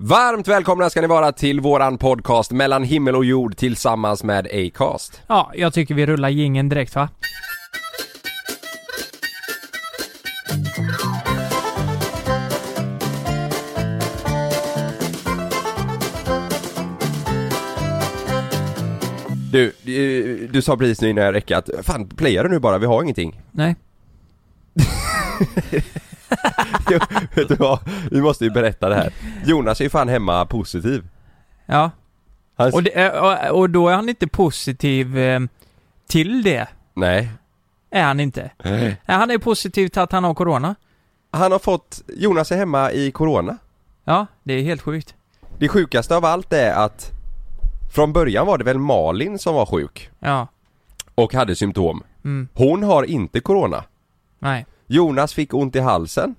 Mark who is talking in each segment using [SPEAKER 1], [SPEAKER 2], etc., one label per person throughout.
[SPEAKER 1] Varmt välkomna ska ni vara till våran podcast mellan himmel och jord tillsammans med Acast.
[SPEAKER 2] Ja, jag tycker vi rullar gingen direkt va?
[SPEAKER 1] Du, eh, du sa precis nu innan jag räckte att fan playar du nu bara, vi har ingenting.
[SPEAKER 2] Nej.
[SPEAKER 1] Jo, Vet du vad? Vi måste ju berätta det här. Jonas är ju fan hemma positiv.
[SPEAKER 2] Ja.
[SPEAKER 1] Han...
[SPEAKER 2] Och, det, eh, och, och då är han inte positiv eh, till det.
[SPEAKER 1] Nej.
[SPEAKER 2] Är han inte. Nej, han är positiv till att han har corona.
[SPEAKER 1] Han har fått, Jonas är hemma i corona.
[SPEAKER 2] Ja, det är helt sjukt.
[SPEAKER 1] Det sjukaste av allt är att från början var det väl Malin som var sjuk
[SPEAKER 2] Ja.
[SPEAKER 1] och hade symptom.
[SPEAKER 2] Mm.
[SPEAKER 1] Hon har inte corona.
[SPEAKER 2] Nej.
[SPEAKER 1] Jonas fick ont i halsen.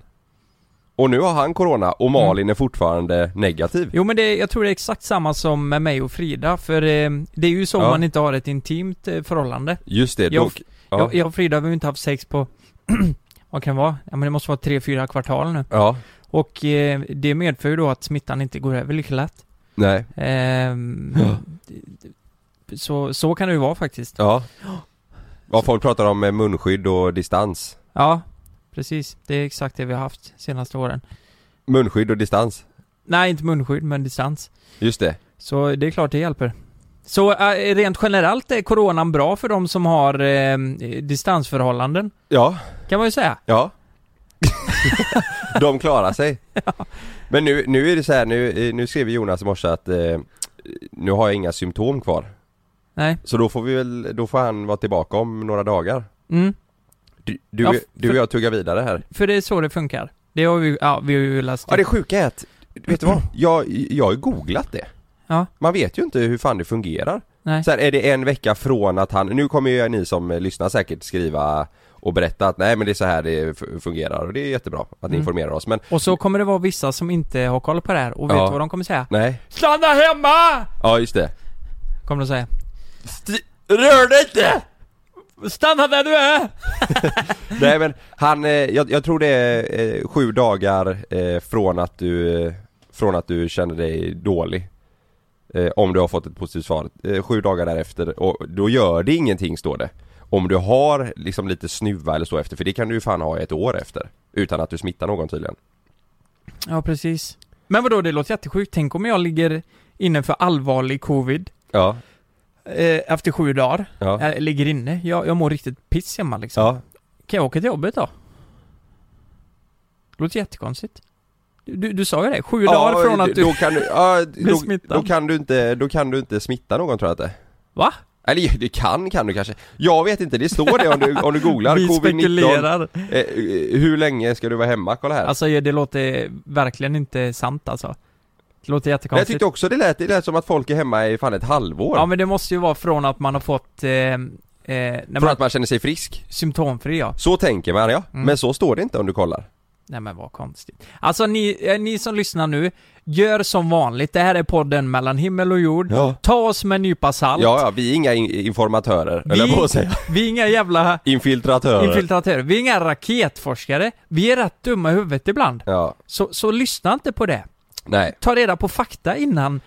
[SPEAKER 1] Och nu har han corona och Malin är fortfarande negativ.
[SPEAKER 2] Jo men det, jag tror det är exakt samma som med mig och Frida, för eh, det är ju så
[SPEAKER 1] Ja.
[SPEAKER 2] man inte har ett intimt eh, förhållande.
[SPEAKER 1] Just det,
[SPEAKER 2] Jag-
[SPEAKER 1] dock. Ja.
[SPEAKER 2] Jag, jag och Frida har ju inte haft sex på, vad kan det vara? Ja men det måste vara tre, fyra kvartal nu.
[SPEAKER 1] ja.
[SPEAKER 2] Och eh, det medför ju då att smittan inte går över lika lätt.
[SPEAKER 1] Nej.
[SPEAKER 2] Ehm, så, så kan det ju vara faktiskt.
[SPEAKER 1] Ja. Vad folk pratar om med munskydd och distans.
[SPEAKER 2] Ja, precis. Det är exakt det vi har haft senaste åren.
[SPEAKER 1] Munskydd och distans.
[SPEAKER 2] Nej, inte munskydd, men distans.
[SPEAKER 1] Just det.
[SPEAKER 2] Så det är klart det hjälper. Så eh, rent generellt är coronan bra för de som har eh, distansförhållanden,
[SPEAKER 1] Ja.
[SPEAKER 2] kan man ju säga.
[SPEAKER 1] Ja. De klarar sig. Men nu, nu är det så här, nu, eh, nu skrev Jonas i morse att eh, nu har jag inga symptom kvar.
[SPEAKER 2] Nej.
[SPEAKER 1] Så då får vi väl, då får han vara tillbaka om några dagar.
[SPEAKER 2] Mm.
[SPEAKER 1] Du, du,
[SPEAKER 2] Ja, f-
[SPEAKER 1] du och jag tuggar vidare här.
[SPEAKER 2] För det är så det funkar. Det har vi, ja, vi har ju läst
[SPEAKER 1] Ja det sjuka är att, vet du vad? Jag, jag har ju googlat det.
[SPEAKER 2] Ja.
[SPEAKER 1] Man vet ju inte hur fan det fungerar.
[SPEAKER 2] Nej.
[SPEAKER 1] Så här, är det en vecka från att han, nu kommer ju ni som eh, lyssnar säkert skriva och berätta att nej men det är så här det f- fungerar och det är jättebra att ni
[SPEAKER 2] Mm.
[SPEAKER 1] informerar oss men
[SPEAKER 2] Och så kommer det vara vissa som inte har koll på det här och
[SPEAKER 1] Ja.
[SPEAKER 2] vet vad de kommer säga.
[SPEAKER 1] nej,
[SPEAKER 2] Stanna hemma!
[SPEAKER 1] ja just det.
[SPEAKER 2] Kommer de säga.
[SPEAKER 1] Rör dig inte!
[SPEAKER 2] Stanna där du är!
[SPEAKER 1] Nej men han, eh, jag, jag tror det är eh, sju dagar eh, från att du, eh, från att du kände dig dålig eh, Om du har fått ett positivt svar, eh, sju dagar därefter och då gör det ingenting står det Om du har liksom lite snuva eller så efter, för det kan du ju fan ha ett år efter Utan att du smittar någon tydligen
[SPEAKER 2] Ja, precis. Men vadå, det låter jättesjukt. Tänk om jag ligger inne för allvarlig covid
[SPEAKER 1] Ja,
[SPEAKER 2] eh, efter sju dagar.
[SPEAKER 1] ja,
[SPEAKER 2] Jag ligger inne. Jag, jag mår riktigt piss hemma liksom.
[SPEAKER 1] ja
[SPEAKER 2] Kan jag åka till jobbet då? Det låter jättekonstigt. Du, du, du sa ju det, sju dagar från att du...
[SPEAKER 1] då kan du, ja, då,
[SPEAKER 2] smittan.
[SPEAKER 1] då kan du inte, då kan du inte smitta någon tror jag att det är.
[SPEAKER 2] Va?
[SPEAKER 1] Eller det kan, kan du kanske. Jag vet inte, det står det om du, om du googlar
[SPEAKER 2] Vi
[SPEAKER 1] covid-19
[SPEAKER 2] spekulerar.
[SPEAKER 1] Eh, hur länge ska du vara hemma? Kolla här.
[SPEAKER 2] Alltså det låter verkligen inte sant alltså. Det låter
[SPEAKER 1] men jag
[SPEAKER 2] jättekonstigt.
[SPEAKER 1] tyckte också det lät, det lät som att folk är hemma i fan ett halvår.
[SPEAKER 2] Ja men det måste ju vara från att man har fått... Eh, eh, när man,
[SPEAKER 1] för att man känner sig frisk.
[SPEAKER 2] Symptomfri ja.
[SPEAKER 1] Så tänker man ja,
[SPEAKER 2] Mm.
[SPEAKER 1] men så står det inte om du kollar.
[SPEAKER 2] Nej men vad konstigt. Alltså ni, eh, ni som lyssnar nu, gör som vanligt. Det här är podden mellan himmel och jord.
[SPEAKER 1] Ja.
[SPEAKER 2] Ta oss med en nypa salt.
[SPEAKER 1] Ja, ja, vi är inga in- informatörer,
[SPEAKER 2] Vi-
[SPEAKER 1] eller på att säga.
[SPEAKER 2] Vi är inga jävla
[SPEAKER 1] Infiltratörer.
[SPEAKER 2] infiltratörer. Vi är inga raketforskare. Vi är rätt dumma i huvudet ibland.
[SPEAKER 1] ja,
[SPEAKER 2] Så, så lyssna inte på det.
[SPEAKER 1] nej.
[SPEAKER 2] Ta reda på fakta innan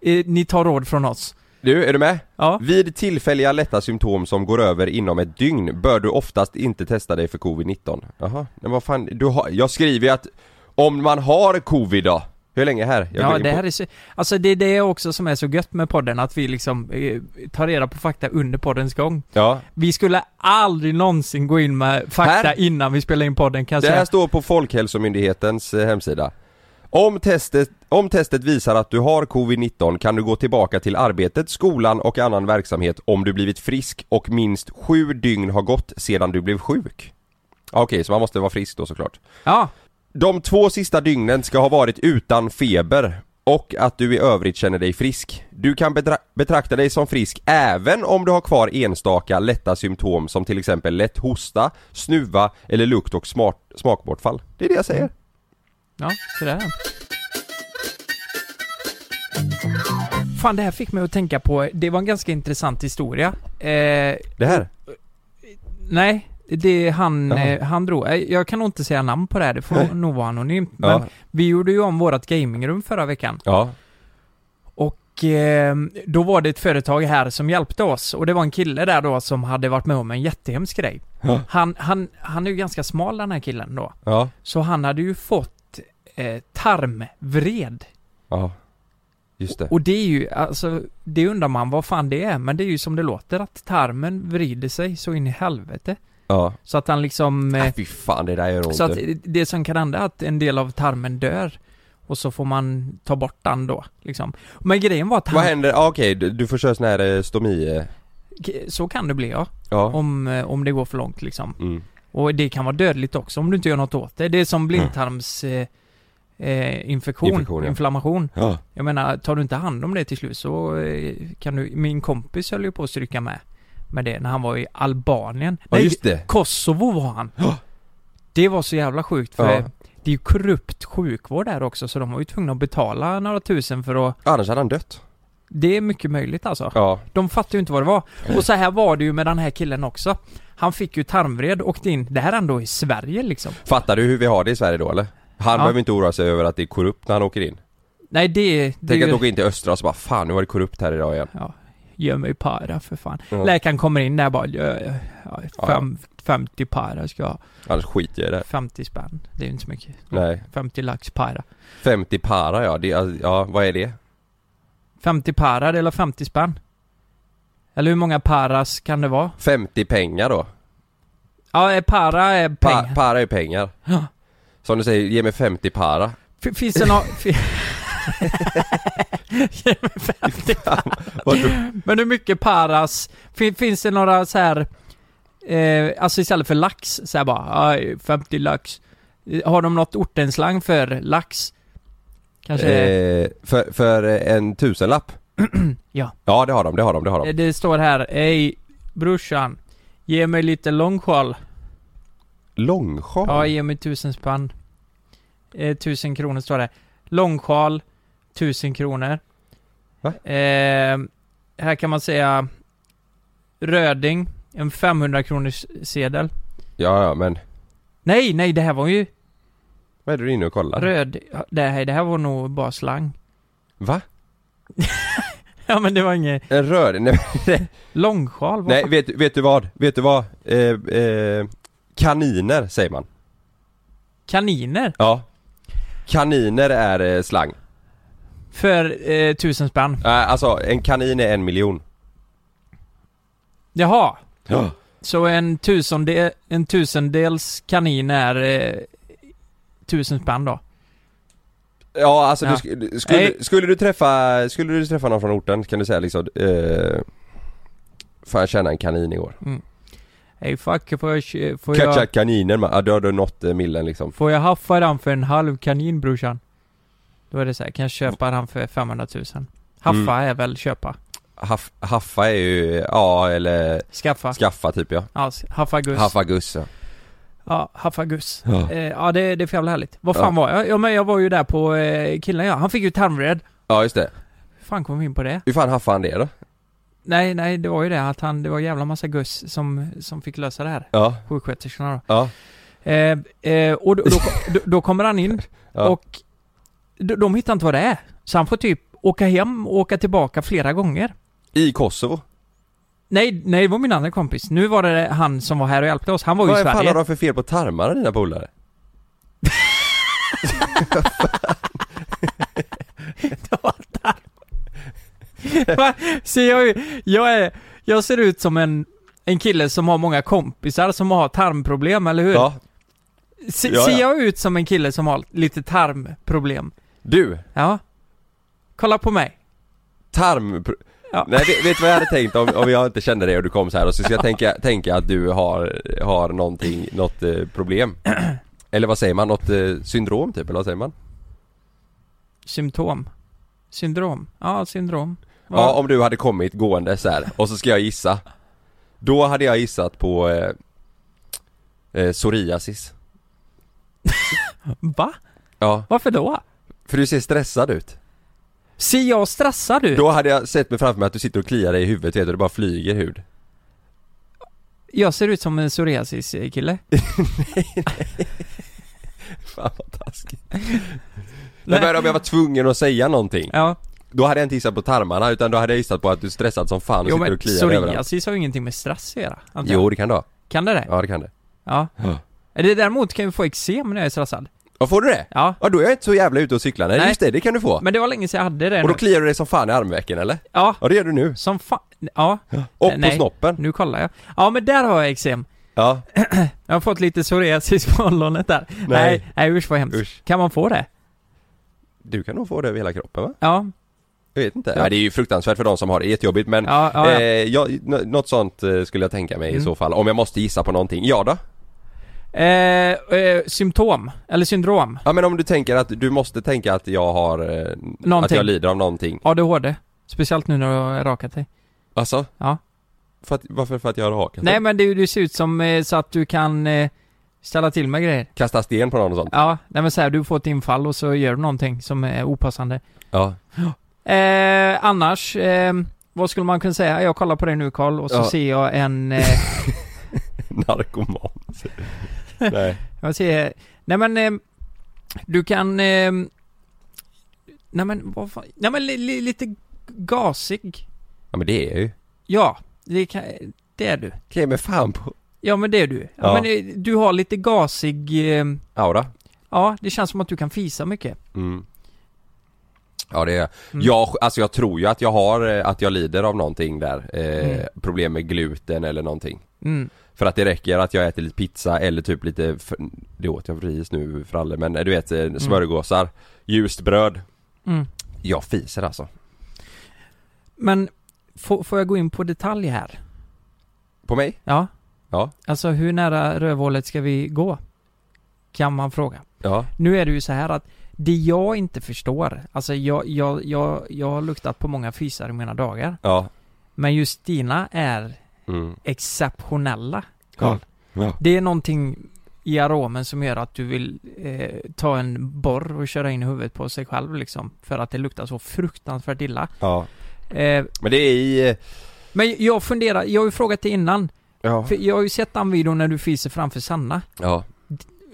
[SPEAKER 2] eh, ni tar råd från oss.
[SPEAKER 1] Du, är du med?
[SPEAKER 2] Ja.
[SPEAKER 1] Vid tillfälliga lätta symptom som går över inom ett dygn bör du oftast inte testa dig för covid-19. Jaha, men vad fan, du har, jag skriver ju att om man har covid då, Hur länge är här? Jag går
[SPEAKER 2] Ja,
[SPEAKER 1] in
[SPEAKER 2] det
[SPEAKER 1] på-
[SPEAKER 2] här är så, alltså det är det också som är så gött med podden, att vi liksom eh, tar reda på fakta under poddens gång.
[SPEAKER 1] ja.
[SPEAKER 2] Vi skulle aldrig någonsin gå in med fakta
[SPEAKER 1] Här-
[SPEAKER 2] innan vi spelar in podden kan jag
[SPEAKER 1] Det här
[SPEAKER 2] säga.
[SPEAKER 1] står på Folkhälsomyndighetens eh, hemsida. Om testet, om testet visar att du har covid-19 kan du gå tillbaka till arbetet, skolan och annan verksamhet om du blivit frisk och minst sju dygn har gått sedan du blev sjuk. Ja, Okej, så man måste vara frisk då såklart.
[SPEAKER 2] Ja,
[SPEAKER 1] De två sista dygnen ska ha varit utan feber och att du i övrigt känner dig frisk. Du kan betra- betrakta dig som frisk även om du har kvar enstaka lätta symptom som till exempel lätt hosta, snuva eller lukt och smart- smakbortfall. Det är det jag säger.
[SPEAKER 2] ja, så där är han. Fan, det här fick mig att tänka på, det var en ganska intressant historia. Eh,
[SPEAKER 1] Det här?
[SPEAKER 2] nej, det är han,
[SPEAKER 1] Jaha.
[SPEAKER 2] eh, han drog, eh, jag kan nog inte säga namn på det här, det får nog vara anonymt. Men
[SPEAKER 1] Ja.
[SPEAKER 2] vi gjorde ju om vårat gamingrum förra veckan.
[SPEAKER 1] Ja.
[SPEAKER 2] Och eh, då var det ett företag här som hjälpte oss och det var en kille där då som hade varit med om en jättehemsk grej.
[SPEAKER 1] Ja.
[SPEAKER 2] Han, han, han är ju ganska smal den här killen då.
[SPEAKER 1] Ja.
[SPEAKER 2] Så han hade ju fått eh, tarmvred.
[SPEAKER 1] Ja. Just det.
[SPEAKER 2] Och det är ju, alltså, det undrar man vad fan det är, men det är ju som det låter att tarmen vrider sig så in i helvete.
[SPEAKER 1] Ja.
[SPEAKER 2] Så att han liksom... Eh,
[SPEAKER 1] Äh, fy fan, det där gör ont.
[SPEAKER 2] så att det som kan hända är att en del av tarmen dör. Och så får man ta bort den då, liksom. Men grejen var att
[SPEAKER 1] Vad
[SPEAKER 2] han,
[SPEAKER 1] händer? Ja, Okej, du, du får köra sån här eh, stomi... eh,
[SPEAKER 2] så kan det bli ja.
[SPEAKER 1] Ja.
[SPEAKER 2] Om, eh, om det går för långt liksom.
[SPEAKER 1] Mm.
[SPEAKER 2] Och det kan vara dödligt också om du inte gör något åt det. Det är som blindtarms... Eh, eh, infektion,
[SPEAKER 1] Infektion, ja.
[SPEAKER 2] inflammation.
[SPEAKER 1] Ja.
[SPEAKER 2] Jag menar, tar du inte hand om det till slut så eh, kan du... Min kompis höll ju på att stryka med. Med det när han var i Albanien.
[SPEAKER 1] Ja,
[SPEAKER 2] Nej,
[SPEAKER 1] just det.
[SPEAKER 2] Kosovo var han. Det var så jävla sjukt för
[SPEAKER 1] Ja.
[SPEAKER 2] det är ju korrupt sjukvård där också så de var ju tvungna att betala några tusen för att...
[SPEAKER 1] Annars hade han dött.
[SPEAKER 2] Det är mycket möjligt alltså.
[SPEAKER 1] Ja.
[SPEAKER 2] De fattade ju inte vad det var. Och så här var det ju med den här killen också. Han fick ju tarmvred, åkte in. Det här är ändå i Sverige liksom.
[SPEAKER 1] Fattar du hur vi har det i Sverige då eller? Han
[SPEAKER 2] Ja.
[SPEAKER 1] behöver inte oroa sig över att det är korrupt när han åker in.
[SPEAKER 2] Nej det... det
[SPEAKER 1] Tänk
[SPEAKER 2] är
[SPEAKER 1] att
[SPEAKER 2] ju-
[SPEAKER 1] åka in till Östra och så bara fan nu var det korrupt här idag igen.
[SPEAKER 2] Ja, gör mig para för fan.
[SPEAKER 1] Ja.
[SPEAKER 2] Läkaren kommer in där bara, ja, ja, ja, fem, 50 para ska jag ha.
[SPEAKER 1] Annars skiter jag i det.
[SPEAKER 2] 50 spänn, det är ju inte så mycket.
[SPEAKER 1] Nej.
[SPEAKER 2] 50 lax para.
[SPEAKER 1] 50 para ja, det, alltså, ja vad är det?
[SPEAKER 2] 50 para, det är väl 50 spänn? Eller hur många paras kan det vara?
[SPEAKER 1] 50 pengar då?
[SPEAKER 2] Ja, eh, para är pengar.
[SPEAKER 1] Pa, para är pengar.
[SPEAKER 2] Ja.
[SPEAKER 1] Som du säger, ge mig 50 para.
[SPEAKER 2] F- Finns det någon... fi- Ge mig 50
[SPEAKER 1] Vad du-
[SPEAKER 2] Men hur mycket paras? Fin, finns det några så här eh, alltså istället för lax, så här bara, aj, 50 lax. Eh, Har de något ortenslang för lax? Kanske?
[SPEAKER 1] eh, för, för en tusenlapp?
[SPEAKER 2] Ja.
[SPEAKER 1] Ja det har de, det har de, det har de.
[SPEAKER 2] Eh, Det står här, ej brorsan, ge mig lite långskal.
[SPEAKER 1] Långsjal?
[SPEAKER 2] Ja, ge mig tusen spann. Eh, tusen kronor står det. Långskal, tusen kronor.
[SPEAKER 1] Va?
[SPEAKER 2] Eh, här kan man säga Röding, en 500 kronors sedel.
[SPEAKER 1] ja, ja men
[SPEAKER 2] Nej, nej, det här var ju
[SPEAKER 1] vad är du inne och kollar?
[SPEAKER 2] röd... Det här, det här var nog bara slang.
[SPEAKER 1] Va?
[SPEAKER 2] Ja, men det var inget...
[SPEAKER 1] En rör? Nej,
[SPEAKER 2] Långskal? Vad
[SPEAKER 1] nej
[SPEAKER 2] fan?
[SPEAKER 1] vet, vet du vad? Vet du vad? Eh, eh, kaniner säger man.
[SPEAKER 2] Kaniner?
[SPEAKER 1] Ja. Kaniner är eh, slang.
[SPEAKER 2] För eh, tusen spänn.
[SPEAKER 1] Äh, alltså en kanin är en miljon.
[SPEAKER 2] Jaha.
[SPEAKER 1] Ja.
[SPEAKER 2] Så en, tusendel, en tusendels kanin är eh, tusen spänn då?
[SPEAKER 1] Ja alltså
[SPEAKER 2] Ja.
[SPEAKER 1] Du, sk- du- skulle,
[SPEAKER 2] Nej.
[SPEAKER 1] skulle du träffa, skulle du träffa någon från orten kan du säga liksom eh, Fan jag tjänade en kanin igår.
[SPEAKER 2] Ey fuck, får jag, kö- får
[SPEAKER 1] Catcha
[SPEAKER 2] jag,
[SPEAKER 1] kaninen man, ja, då har du nått eh, millen liksom.
[SPEAKER 2] får jag haffa den för en halv kanin brorsan? Då är det så här, kan jag köpa den för 500 000? Haffa
[SPEAKER 1] Mm.
[SPEAKER 2] är väl köpa?
[SPEAKER 1] Haff, haffa är ju, ja eller
[SPEAKER 2] Skaffa?
[SPEAKER 1] skaffa typ ja.
[SPEAKER 2] ja, s- haffa guss.
[SPEAKER 1] Haffa guss ja.
[SPEAKER 2] Ja, haffa guss.
[SPEAKER 1] Ja.
[SPEAKER 2] Eh, ja, det, det är för jävla härligt. Vad
[SPEAKER 1] Ja.
[SPEAKER 2] fan var jag? Ja, men jag var ju där på eh, killen ja. Han fick ju tarmvred.
[SPEAKER 1] Ja just det.
[SPEAKER 2] Hur fan kom vi in på det?
[SPEAKER 1] Hur fan haffade han det då?
[SPEAKER 2] Nej, nej, det var ju det att han, det var en jävla massa guss som, som fick lösa det här.
[SPEAKER 1] Ja,
[SPEAKER 2] Sjuksköterskorna då.
[SPEAKER 1] ja,
[SPEAKER 2] Eh, eh, och då, då, då, då kommer han in
[SPEAKER 1] Ja.
[SPEAKER 2] och de, de hittar inte vad det är. Så han får typ åka hem och åka tillbaka flera gånger.
[SPEAKER 1] i Kosovo.
[SPEAKER 2] Nej, nej, det var min andra kompis. Nu var det han som var här och hjälpte oss. Han var ju
[SPEAKER 1] Vad
[SPEAKER 2] i
[SPEAKER 1] fan
[SPEAKER 2] Sverige.
[SPEAKER 1] har de för fel på tarmarna dina polare?
[SPEAKER 2] Datar. Va? Så jag, är- jag, är, jag ser ut som en, en kille som har många kompisar som har tarmproblem, eller hur?
[SPEAKER 1] Ja,
[SPEAKER 2] Se,
[SPEAKER 1] ja, ja.
[SPEAKER 2] Ser jag ut som en kille som har lite tarmproblem?
[SPEAKER 1] du,
[SPEAKER 2] Ja. Kolla på mig.
[SPEAKER 1] tarm...
[SPEAKER 2] Ja.
[SPEAKER 1] Nej vet, vet du vad jag hade tänkt om, om jag inte kände dig och du kom så här och så ska jag tänka, tänka att du har, har någonting, något eh, problem Eller vad säger man? Något eh, syndrom typ, eller vad säger man?
[SPEAKER 2] Symptom. Syndrom. Ja, syndrom.
[SPEAKER 1] Ja, om du hade kommit gående så här och så ska jag gissa Då hade jag gissat på eh, eh, psoriasis
[SPEAKER 2] Va?
[SPEAKER 1] Ja,
[SPEAKER 2] Varför då?
[SPEAKER 1] för du ser stressad ut
[SPEAKER 2] Ser jag stressad ut?
[SPEAKER 1] Då hade jag sett mig framför mig att du sitter och kliar dig i huvudet vet du, det bara flyger hud
[SPEAKER 2] Jag ser ut som en psoriasis-kille.
[SPEAKER 1] Fan vad taskigt Nej. Men om jag var tvungen att säga någonting
[SPEAKER 2] Ja.
[SPEAKER 1] Då hade jag inte gissat på tarmarna utan då hade jag gissat på att du är stressad som fan och
[SPEAKER 2] Jo
[SPEAKER 1] sitter
[SPEAKER 2] men alltså.
[SPEAKER 1] och kliar dig överallt
[SPEAKER 2] psoriasis har ju ingenting med stress att göra. antar jag.
[SPEAKER 1] Jo det kan du ha,
[SPEAKER 2] Kan det det?
[SPEAKER 1] ja det kan det
[SPEAKER 2] Ja.
[SPEAKER 1] Ja.
[SPEAKER 2] Eller däremot kan jag få eksem när jag är stressad.
[SPEAKER 1] Ja får du det?
[SPEAKER 2] Ja.
[SPEAKER 1] Ja då är jag inte så jävla ute och cyklar, nej,
[SPEAKER 2] Nej.
[SPEAKER 1] just det, det kan du få
[SPEAKER 2] Men det var länge sedan jag hade det
[SPEAKER 1] Och då
[SPEAKER 2] nu.
[SPEAKER 1] kliar du dig som fan i armvecken eller?
[SPEAKER 2] Ja.
[SPEAKER 1] Ja det gör du nu
[SPEAKER 2] Som fan. Ja.
[SPEAKER 1] Och
[SPEAKER 2] Eh,
[SPEAKER 1] på snoppen
[SPEAKER 2] Nu kollar jag. Ja men där har jag eksem.
[SPEAKER 1] Ja,
[SPEAKER 2] Jag har fått lite psoriasis på ollonet där. Nej. Nej, usch vad hemskt.
[SPEAKER 1] Usch.
[SPEAKER 2] Kan man få det?
[SPEAKER 1] du kan nog få det över hela kroppen va?
[SPEAKER 2] Ja.
[SPEAKER 1] Jag vet inte,
[SPEAKER 2] Ja.
[SPEAKER 1] ja. det är ju fruktansvärt för de som har det jättejobbigt men
[SPEAKER 2] Ja, ja, Mm. ja.
[SPEAKER 1] Eh, jag, nå- något sånt eh, skulle jag tänka mig i så fall, om jag måste gissa på någonting. Ja då?
[SPEAKER 2] Eh, eh, symptom. Eller syndrom.
[SPEAKER 1] Ja men om du tänker att du måste tänka att jag har, eh, att
[SPEAKER 2] Någonting.
[SPEAKER 1] jag lider av någonting.
[SPEAKER 2] ADHD. Speciellt nu när du har rakat dig.
[SPEAKER 1] Alltså?
[SPEAKER 2] Ja.
[SPEAKER 1] För att, varför? För att jag har Alltså, hakat?
[SPEAKER 2] Nej men du, du ser ut som eh, så att du kan eh, ställa till med grejer.
[SPEAKER 1] Kasta sten på någon och sånt?
[SPEAKER 2] Ja, nej men så här, du får ett infall och så gör du någonting som är opassande.
[SPEAKER 1] Ja.
[SPEAKER 2] Eh, annars, eh, vad skulle man kunna säga? Jag kollar på dig nu Karl och så
[SPEAKER 1] Ja.
[SPEAKER 2] ser jag en... Eh,
[SPEAKER 1] Narkoman. Nej.
[SPEAKER 2] jag ser... Nej men, eh, du kan... Eh, nej men, vad fan? Nej men li, li, lite gasig.
[SPEAKER 1] Ja men det är jag ju.
[SPEAKER 2] Ja, det, kan, det är du.
[SPEAKER 1] Okej men fan på...
[SPEAKER 2] Ja men det är du. Ja,
[SPEAKER 1] Ja.
[SPEAKER 2] Men, eh, du har lite gasig... Eh,
[SPEAKER 1] Aura?
[SPEAKER 2] ja, det känns som att du kan fisa mycket.
[SPEAKER 1] Mm. Ja det är jag. Alltså jag tror ju att jag har, eh, att jag lider av någonting där. Eh,
[SPEAKER 2] Mm.
[SPEAKER 1] Problem med gluten eller någonting.
[SPEAKER 2] Mm.
[SPEAKER 1] För att det räcker att jag äter lite pizza eller typ lite, f- det åt jag precis nu för alla men eh, du vet eh, smörgåsar, ljust bröd.
[SPEAKER 2] Mm.
[SPEAKER 1] Jag fiser alltså.
[SPEAKER 2] Men, får, får jag gå in på detalj här?
[SPEAKER 1] På mig?
[SPEAKER 2] Ja.
[SPEAKER 1] Ja.
[SPEAKER 2] Alltså hur nära rövhålet ska vi gå? Kan man fråga.
[SPEAKER 1] Ja.
[SPEAKER 2] Nu är det ju så här att det jag inte förstår, alltså jag, jag, jag, jag har luktat på många fisar i mina dagar.
[SPEAKER 1] Ja.
[SPEAKER 2] Men just dina är
[SPEAKER 1] Mm.
[SPEAKER 2] exceptionella, Karl.
[SPEAKER 1] Ja.
[SPEAKER 2] Det är någonting i aromen som gör att du vill eh, ta en borr och köra in i huvudet på sig själv liksom. För att det luktar så fruktansvärt illa.
[SPEAKER 1] Ja.
[SPEAKER 2] Eh,
[SPEAKER 1] Men det är i... eh,
[SPEAKER 2] men jag funderar, jag har ju frågat dig innan.
[SPEAKER 1] Ja.
[SPEAKER 2] För jag har ju sett den videon när du fiser framför Sanna.
[SPEAKER 1] ja.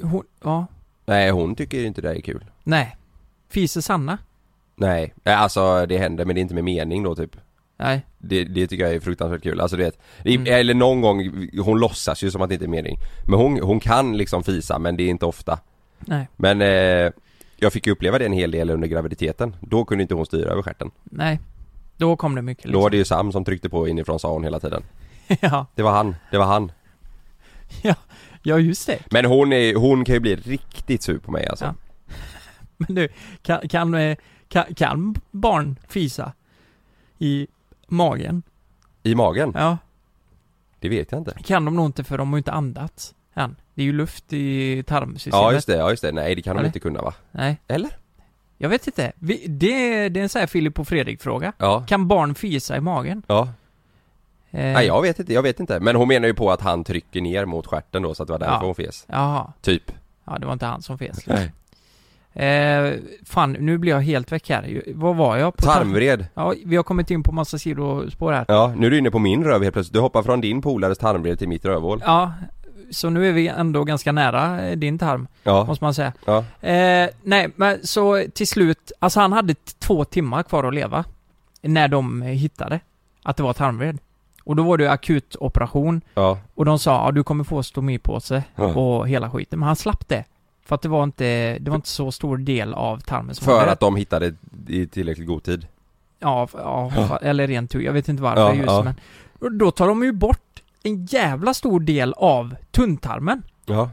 [SPEAKER 2] Hon, ja.
[SPEAKER 1] Nej hon tycker inte det är kul.
[SPEAKER 2] Nej. Fiser Sanna?
[SPEAKER 1] Nej. Eh, Alltså det händer men det är inte med mening då typ.
[SPEAKER 2] Nej.
[SPEAKER 1] Det, det tycker jag är fruktansvärt kul, alltså du vet det,
[SPEAKER 2] Mm.
[SPEAKER 1] Eller någon gång, hon låtsas ju som att det inte är mening Men hon, hon kan liksom fisa men det är inte ofta
[SPEAKER 2] Nej.
[SPEAKER 1] Men eh, jag fick ju uppleva det en hel del under graviditeten. Då kunde inte hon styra över stjärten.
[SPEAKER 2] Nej. Då kom det mycket
[SPEAKER 1] Då var
[SPEAKER 2] liksom.
[SPEAKER 1] det ju Sam som tryckte på inifrån sa hon hela tiden.
[SPEAKER 2] ja.
[SPEAKER 1] Det var han, det var han.
[SPEAKER 2] ja, just det.
[SPEAKER 1] Men hon, är, hon kan ju bli riktigt sur på mig alltså.
[SPEAKER 2] Ja. Men du, kan, kan, eh, kan, kan barn fisa? I magen?
[SPEAKER 1] I magen?
[SPEAKER 2] Ja.
[SPEAKER 1] Det vet jag inte.
[SPEAKER 2] Kan de nog inte för de har ju inte andats än. Det är ju luft i tarmsystemet.
[SPEAKER 1] Ja just det, ja just det. Nej det kan hon
[SPEAKER 2] Eller?
[SPEAKER 1] inte kunna va?
[SPEAKER 2] Nej.
[SPEAKER 1] Eller?
[SPEAKER 2] Jag vet inte. Vi, det, det är en sån här Filip och Fredrik-fråga.
[SPEAKER 1] Ja.
[SPEAKER 2] Kan barn fisa i magen?
[SPEAKER 1] Ja.
[SPEAKER 2] Eh,
[SPEAKER 1] Nej jag vet inte, jag vet inte. Men hon menar ju på att han trycker ner mot stjärten då så att det var därför
[SPEAKER 2] Ja.
[SPEAKER 1] hon fes.
[SPEAKER 2] Jaha.
[SPEAKER 1] Typ.
[SPEAKER 2] Ja, det var inte han som fes.
[SPEAKER 1] Nej.
[SPEAKER 2] Eh, fan, nu blir jag helt väck här. Vad var jag? På tarm-
[SPEAKER 1] Tarmvred.
[SPEAKER 2] Ja, vi har kommit in på massa sidospår här.
[SPEAKER 1] Ja, nu är du inne på min röv helt plötsligt. Du hoppar från din polares tarmvred till mitt rövhål.
[SPEAKER 2] Ja, så nu är vi ändå ganska nära eh, din tarm,
[SPEAKER 1] Ja.
[SPEAKER 2] måste man säga.
[SPEAKER 1] Ja.
[SPEAKER 2] Eh, nej, men så till slut, alltså han hade t- två timmar kvar att leva. När de eh, hittade att det var tarmvred. Och då var det akut operation
[SPEAKER 1] Ja.
[SPEAKER 2] och de sa ja, du kommer få stomipåse
[SPEAKER 1] Ja.
[SPEAKER 2] och hela skiten. Men han slapp det. För att det var inte, det var inte så stor del av tarmen som
[SPEAKER 1] För
[SPEAKER 2] hade-
[SPEAKER 1] att de hittade i tillräckligt god tid.
[SPEAKER 2] Ja, f- ja, fa- eller rent tur. Jag vet inte varför
[SPEAKER 1] Ja,
[SPEAKER 2] just
[SPEAKER 1] ja.
[SPEAKER 2] men. Och Då tar de ju bort en jävla stor del av tunntarmen.
[SPEAKER 1] Ja.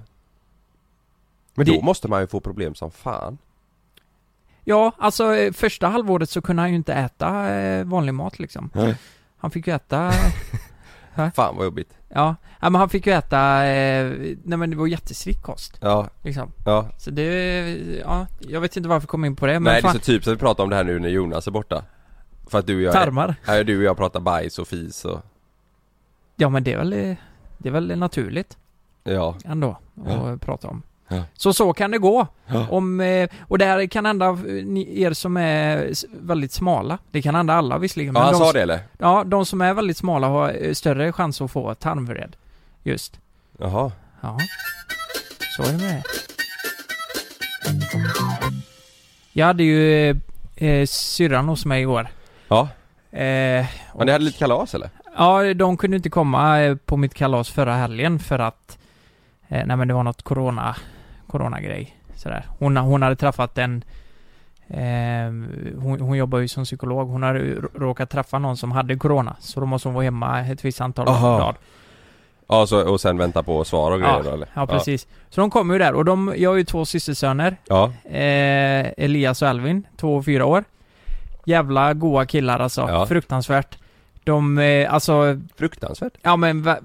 [SPEAKER 1] Men
[SPEAKER 2] Det-
[SPEAKER 1] då måste man ju få problem som fan.
[SPEAKER 2] Ja, alltså eh, första halvåret så kunde han ju inte äta eh, vanlig mat liksom.
[SPEAKER 1] Nej.
[SPEAKER 2] Han fick ju äta,
[SPEAKER 1] Fan vad jobbigt.
[SPEAKER 2] ja, ja men han fick ju äta, eh, nej men det var jättestrikt kost
[SPEAKER 1] Ja,
[SPEAKER 2] liksom.
[SPEAKER 1] ja.
[SPEAKER 2] Så det, ja, jag vet inte varför jag kom in på det men
[SPEAKER 1] Nej det är
[SPEAKER 2] fan,
[SPEAKER 1] så typiskt att vi pratar om det här nu när Jonas är borta. För att du och jag,
[SPEAKER 2] tarmar.
[SPEAKER 1] här, du och jag pratar bajs och fis och,
[SPEAKER 2] Ja men det är väl, eh, det är väl naturligt
[SPEAKER 1] ja.
[SPEAKER 2] ändå att eh,
[SPEAKER 1] Ja.
[SPEAKER 2] prata om.
[SPEAKER 1] Ja.
[SPEAKER 2] Så så kan det gå.
[SPEAKER 1] Ja.
[SPEAKER 2] Om, eh, och det här kan hända eh, ni- er som är s- väldigt smala. Det kan hända alla visserligen.
[SPEAKER 1] Ja han
[SPEAKER 2] de,
[SPEAKER 1] sa
[SPEAKER 2] s-
[SPEAKER 1] det eller?
[SPEAKER 2] Ja, de som är väldigt smala har eh, större chans att få tarmvred. Just.
[SPEAKER 1] Jaha.
[SPEAKER 2] Ja. Så är det med det. Jag hade ju eh, eh, syrran hos mig igår.
[SPEAKER 1] Ja.
[SPEAKER 2] Eh,
[SPEAKER 1] Men ni hade lite kalas eller?
[SPEAKER 2] Ja, de kunde inte komma eh, på mitt kalas förra helgen för att... Eh, nej men det var något corona... Corona-grej. Sådär. Hon, hon hade träffat en... Eh, hon, hon jobbar ju som psykolog. Hon hade ju rå- råkat träffa någon som hade corona. Så då måste hon vara hemma ett visst antal
[SPEAKER 1] Aha.
[SPEAKER 2] dagar.
[SPEAKER 1] Ja så, och sen vänta på svar och grejer
[SPEAKER 2] Ja,
[SPEAKER 1] då eller?
[SPEAKER 2] ja, precis. Så de kom ju där och de... Jag har ju två systersöner.
[SPEAKER 1] Ja.
[SPEAKER 2] Eh, Elias och Alvin, två och fyra år. Jävla goa killar alltså.
[SPEAKER 1] Ja.
[SPEAKER 2] Fruktansvärt. De, eh, alltså...
[SPEAKER 1] Fruktansvärt.
[SPEAKER 2] Ja men... va-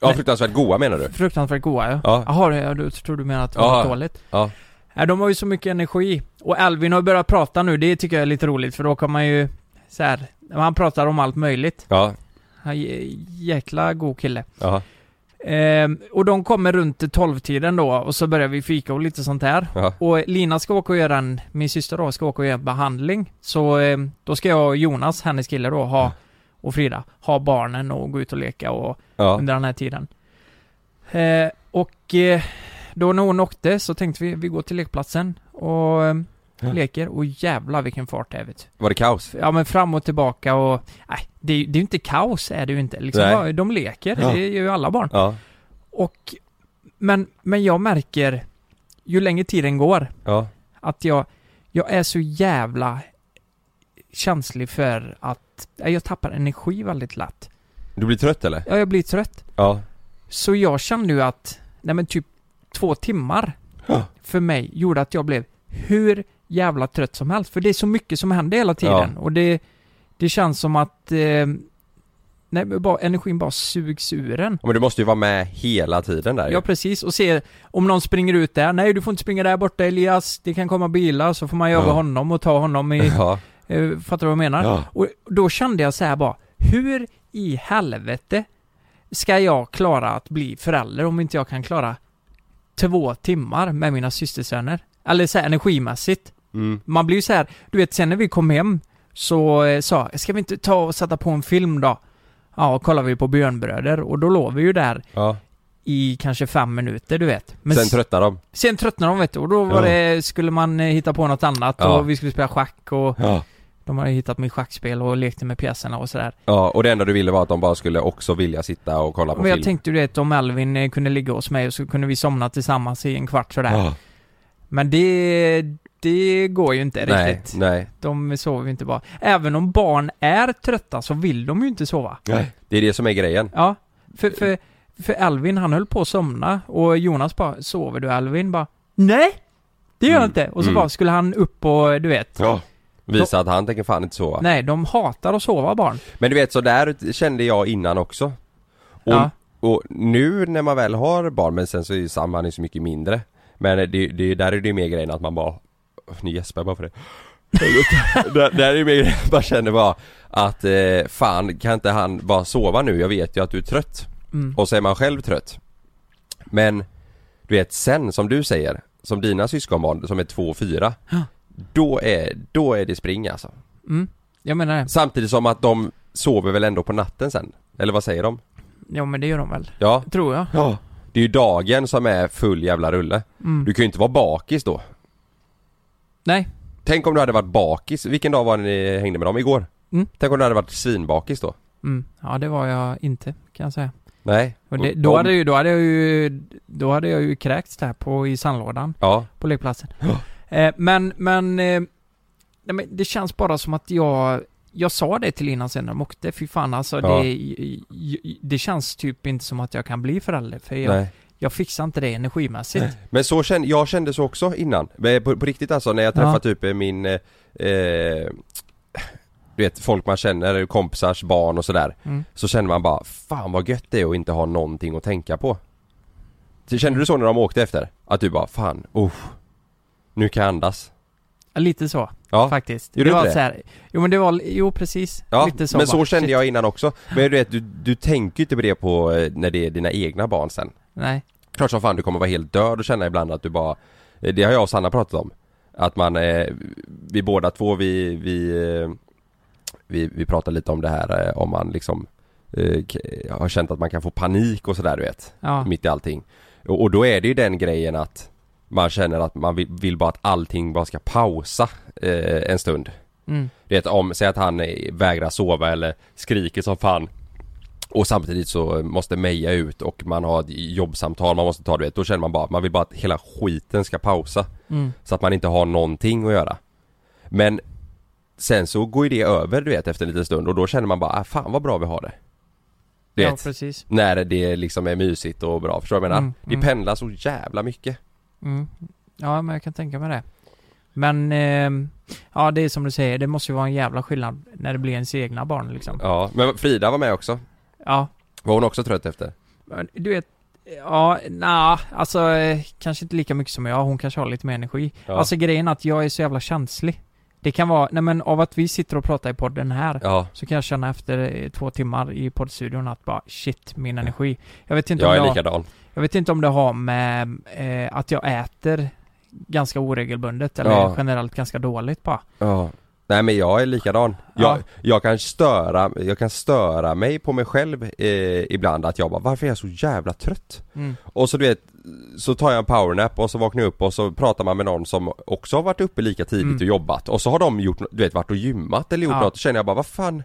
[SPEAKER 1] Ja
[SPEAKER 2] Nej.
[SPEAKER 1] fruktansvärt goa menar du?
[SPEAKER 2] Fruktansvärt goa ja.
[SPEAKER 1] Ja.
[SPEAKER 2] Jaha, det- ja, du tror du menar att det
[SPEAKER 1] Ja.
[SPEAKER 2] var dåligt?
[SPEAKER 1] Ja.
[SPEAKER 2] Nej, de har ju så mycket energi. Och Alvin har börjat prata nu, det tycker jag är lite roligt för då kan man ju så här, han pratar om allt möjligt.
[SPEAKER 1] Ja.
[SPEAKER 2] Han är jä- jäkla god kille.
[SPEAKER 1] Jaha.
[SPEAKER 2] Ehm, och de kommer runt 12-tiden då och så börjar vi fika och lite sånt här.
[SPEAKER 1] Jaha.
[SPEAKER 2] Och Lina ska åka och göra en, min syster då, ska åka och göra en behandling. Så ehm, då ska jag och Jonas, hennes kille då, ha, och Frida, ha barnen och gå ut och leka och
[SPEAKER 1] Ja.
[SPEAKER 2] under den här tiden. Eh, och eh, då när hon åkte så tänkte vi, vi går till lekplatsen och eh,
[SPEAKER 1] Ja.
[SPEAKER 2] leker och jävla vilken fart det är vet
[SPEAKER 1] Var det kaos?
[SPEAKER 2] du. Ja men fram och tillbaka och, nej, det, är ju- det är ju inte kaos är det ju inte. Liksom,
[SPEAKER 1] Nej.
[SPEAKER 2] bara, de leker,
[SPEAKER 1] Ja.
[SPEAKER 2] det gör ju alla barn.
[SPEAKER 1] Ja.
[SPEAKER 2] Och, men, men jag märker, ju längre tiden går,
[SPEAKER 1] Ja.
[SPEAKER 2] att jag, jag är så jävla känslig för att, nej, jag tappar energi väldigt lätt.
[SPEAKER 1] Du blir trött eller?
[SPEAKER 2] Ja, jag blir trött.
[SPEAKER 1] Ja.
[SPEAKER 2] Så jag kände ju att, nej men typ två timmar
[SPEAKER 1] Ja.
[SPEAKER 2] för mig gjorde att jag blev hur jävla trött som helst. För det är så mycket som händer hela tiden och det, det känns som att eh, nej, men bara, energin bara sugs ur en.
[SPEAKER 1] Ja, Men du måste ju vara med hela tiden där ju.
[SPEAKER 2] Ja precis, och se om någon springer ut där. Nej du får inte springa där borta Elias, det kan komma bilar så får man jaga
[SPEAKER 1] Ja.
[SPEAKER 2] honom och ta honom i...
[SPEAKER 1] Ja.
[SPEAKER 2] Eh, fattar du vad jag menar?
[SPEAKER 1] Ja.
[SPEAKER 2] Och då kände jag så här bara, hur i helvete ska jag klara att bli förälder om inte jag kan klara två timmar med mina systersöner? Eller så här energimässigt.
[SPEAKER 1] Mm.
[SPEAKER 2] Man blir ju så här, du vet sen när vi kom hem så eh, sa ska vi inte ta och sätta på en film då? Ja, och kollar vi på Björnbröder och då låg vi ju där
[SPEAKER 1] Ja.
[SPEAKER 2] i kanske fem minuter, du vet. Men
[SPEAKER 1] Sen
[SPEAKER 2] s-
[SPEAKER 1] tröttnar de.
[SPEAKER 2] sen tröttnade de vet du och då
[SPEAKER 1] Ja.
[SPEAKER 2] var det, skulle man eh, hitta på något annat
[SPEAKER 1] Ja.
[SPEAKER 2] och vi skulle spela schack och
[SPEAKER 1] Ja.
[SPEAKER 2] de hade hittat mitt schackspel och lekte med pjäserna och sådär.
[SPEAKER 1] Ja, och det enda du ville var att de bara skulle också vilja sitta och kolla på
[SPEAKER 2] Men jag
[SPEAKER 1] film.
[SPEAKER 2] tänkte ju det att om Alvin eh, kunde ligga hos mig och så kunde vi somna tillsammans i en kvart sådär.
[SPEAKER 1] Ja.
[SPEAKER 2] Men det, det går ju inte
[SPEAKER 1] Nej,
[SPEAKER 2] riktigt.
[SPEAKER 1] nej.
[SPEAKER 2] De sover ju inte bara. Även om barn är trötta så vill de ju inte sova.
[SPEAKER 1] nej. Det är det som är grejen.
[SPEAKER 2] Ja, för, för, för Alvin han höll på att somna och Jonas bara, sover du Alvin? Bara, nej! Det gör jag
[SPEAKER 1] Mm,
[SPEAKER 2] inte! Och så
[SPEAKER 1] mm.
[SPEAKER 2] bara skulle han upp och du vet.
[SPEAKER 1] Ja. Visa att han tänker fan inte sova.
[SPEAKER 2] Nej, de hatar att sova barn.
[SPEAKER 1] Men du vet, så där kände jag innan också. Och,
[SPEAKER 2] Ja.
[SPEAKER 1] och nu när man väl har barn, men sen så är ju Sam, han är så mycket mindre. Men det, det, där är det ju mer grejen att man bara, nu gäspar jag bara för det. där, där är ju mer grejen att man känner bara att eh, fan kan inte han bara sova nu? Jag vet ju att du är trött.
[SPEAKER 2] Mm.
[SPEAKER 1] Och så är man själv trött. Men du vet sen som du säger, som dina syskonbarn som är två och fyra.
[SPEAKER 2] Ja.
[SPEAKER 1] Då är, då är det spring alltså.
[SPEAKER 2] Mm. Jag menar det.
[SPEAKER 1] Samtidigt som att de sover väl ändå på natten sen? Eller vad säger de?
[SPEAKER 2] Ja men det gör de väl.
[SPEAKER 1] Ja.
[SPEAKER 2] Tror jag.
[SPEAKER 1] ja. Det är ju dagen som är full jävla rulle.
[SPEAKER 2] Mm.
[SPEAKER 1] Du kan ju inte vara bakis då.
[SPEAKER 2] Nej.
[SPEAKER 1] Tänk om du hade varit bakis. Vilken dag var det ni hängde med dem? Igår?
[SPEAKER 2] Mm.
[SPEAKER 1] Tänk om du hade varit svinbakis då?
[SPEAKER 2] Mm. Ja, det var jag inte, kan jag säga.
[SPEAKER 1] Nej.
[SPEAKER 2] Och det,
[SPEAKER 1] Och
[SPEAKER 2] då,
[SPEAKER 1] om-
[SPEAKER 2] hade ju, då hade jag ju, då hade jag ju kräkts där på, i sandlådan
[SPEAKER 1] Ja.
[SPEAKER 2] på lekplatsen. Eh, men, men, eh, nej, men det känns bara som att jag, jag sa det till innan sen när de åkte, fy fan alltså
[SPEAKER 1] Ja.
[SPEAKER 2] det, j- j- det känns typ inte som att jag kan bli förälder för jag,
[SPEAKER 1] Nej.
[SPEAKER 2] jag fixar inte det energimässigt.
[SPEAKER 1] Men så kände, jag kände så också innan. Men På, på riktigt alltså när jag träffade
[SPEAKER 2] Ja.
[SPEAKER 1] typ eh, min eh, eh, du vet folk man känner, kompisars barn och sådär.
[SPEAKER 2] Mm.
[SPEAKER 1] Så känner man bara, fan vad gött det är att inte ha någonting att tänka på. Så Kände du så när de åkte efter? Att du bara, fan, oh, nu kan jag andas.
[SPEAKER 2] Lite så
[SPEAKER 1] Ja,
[SPEAKER 2] faktiskt.
[SPEAKER 1] Gjorde
[SPEAKER 2] det
[SPEAKER 1] du
[SPEAKER 2] var
[SPEAKER 1] inte det?
[SPEAKER 2] så här, jo men det var, jo precis.
[SPEAKER 1] ja
[SPEAKER 2] lite så
[SPEAKER 1] men
[SPEAKER 2] bara.
[SPEAKER 1] så kände
[SPEAKER 2] Shit.
[SPEAKER 1] jag innan också. Men du vet, du, du tänker ju inte på det på eh, när det är dina egna barn sen.
[SPEAKER 2] Nej.
[SPEAKER 1] Klart som fan du kommer vara helt död och känna ibland att du bara eh, Det har jag och Sanna pratat om Att man, eh, vi båda två vi, vi, eh, vi, vi pratar lite om det här eh, om man liksom eh, k- Har känt att man kan få panik och sådär du vet
[SPEAKER 2] Ja.
[SPEAKER 1] Mitt i allting och, och då är det ju den grejen att Man känner att man vill, vill bara att allting bara ska pausa eh, en stund
[SPEAKER 2] Mm.
[SPEAKER 1] du vet om, säg att han eh, vägrar sova eller skriker som fan Och samtidigt så måste Meja ut och man har ett jobbsamtal man måste ta du vet Då känner man bara, man vill bara att hela skiten ska pausa
[SPEAKER 2] Mm.
[SPEAKER 1] Så att man inte har någonting att göra Men Sen så går ju det över du vet efter en liten stund och då känner man bara, ah, fan vad bra vi har det Du
[SPEAKER 2] Ja
[SPEAKER 1] vet,
[SPEAKER 2] precis.
[SPEAKER 1] när det liksom är mysigt och bra, förstår du vad jag menar?
[SPEAKER 2] Mm,
[SPEAKER 1] Det
[SPEAKER 2] mm.
[SPEAKER 1] pendlar så jävla mycket
[SPEAKER 2] Mm. Ja, men jag kan tänka mig det. Men, ehm, ja det är som du säger, det måste ju vara en jävla skillnad när det blir ens egna barn liksom.
[SPEAKER 1] Ja, men Frida var med också
[SPEAKER 2] Ja,
[SPEAKER 1] Var hon också trött efter?
[SPEAKER 2] men du vet, ja, nja, alltså eh, kanske inte lika mycket som jag, hon kanske har lite mer energi.
[SPEAKER 1] Ja.
[SPEAKER 2] Alltså grejen är att jag är så jävla känslig. Det kan vara, nej men av att vi sitter och pratar i podden här,
[SPEAKER 1] Ja,
[SPEAKER 2] så kan jag känna efter eh, två timmar i poddstudion att bara shit, min energi. Jag vet inte om
[SPEAKER 1] jag
[SPEAKER 2] det
[SPEAKER 1] är
[SPEAKER 2] har-
[SPEAKER 1] likadan
[SPEAKER 2] Jag vet inte om det har med eh, att jag äter ganska oregelbundet eller
[SPEAKER 1] Ja.
[SPEAKER 2] generellt ganska dåligt bara.
[SPEAKER 1] Ja Nej men jag är likadan. Jag,
[SPEAKER 2] Ja.
[SPEAKER 1] jag kan störa, jag kan störa mig på mig själv eh, ibland att jag bara varför är jag så jävla trött?
[SPEAKER 2] Mm.
[SPEAKER 1] Och så du vet, så tar jag en powernap och så vaknar jag upp och så pratar man med någon som också har varit uppe lika tidigt
[SPEAKER 2] Mm.
[SPEAKER 1] och jobbat och så har de gjort, du vet varit och gymmat eller gjort
[SPEAKER 2] Ja.
[SPEAKER 1] något och känner jag bara vad fan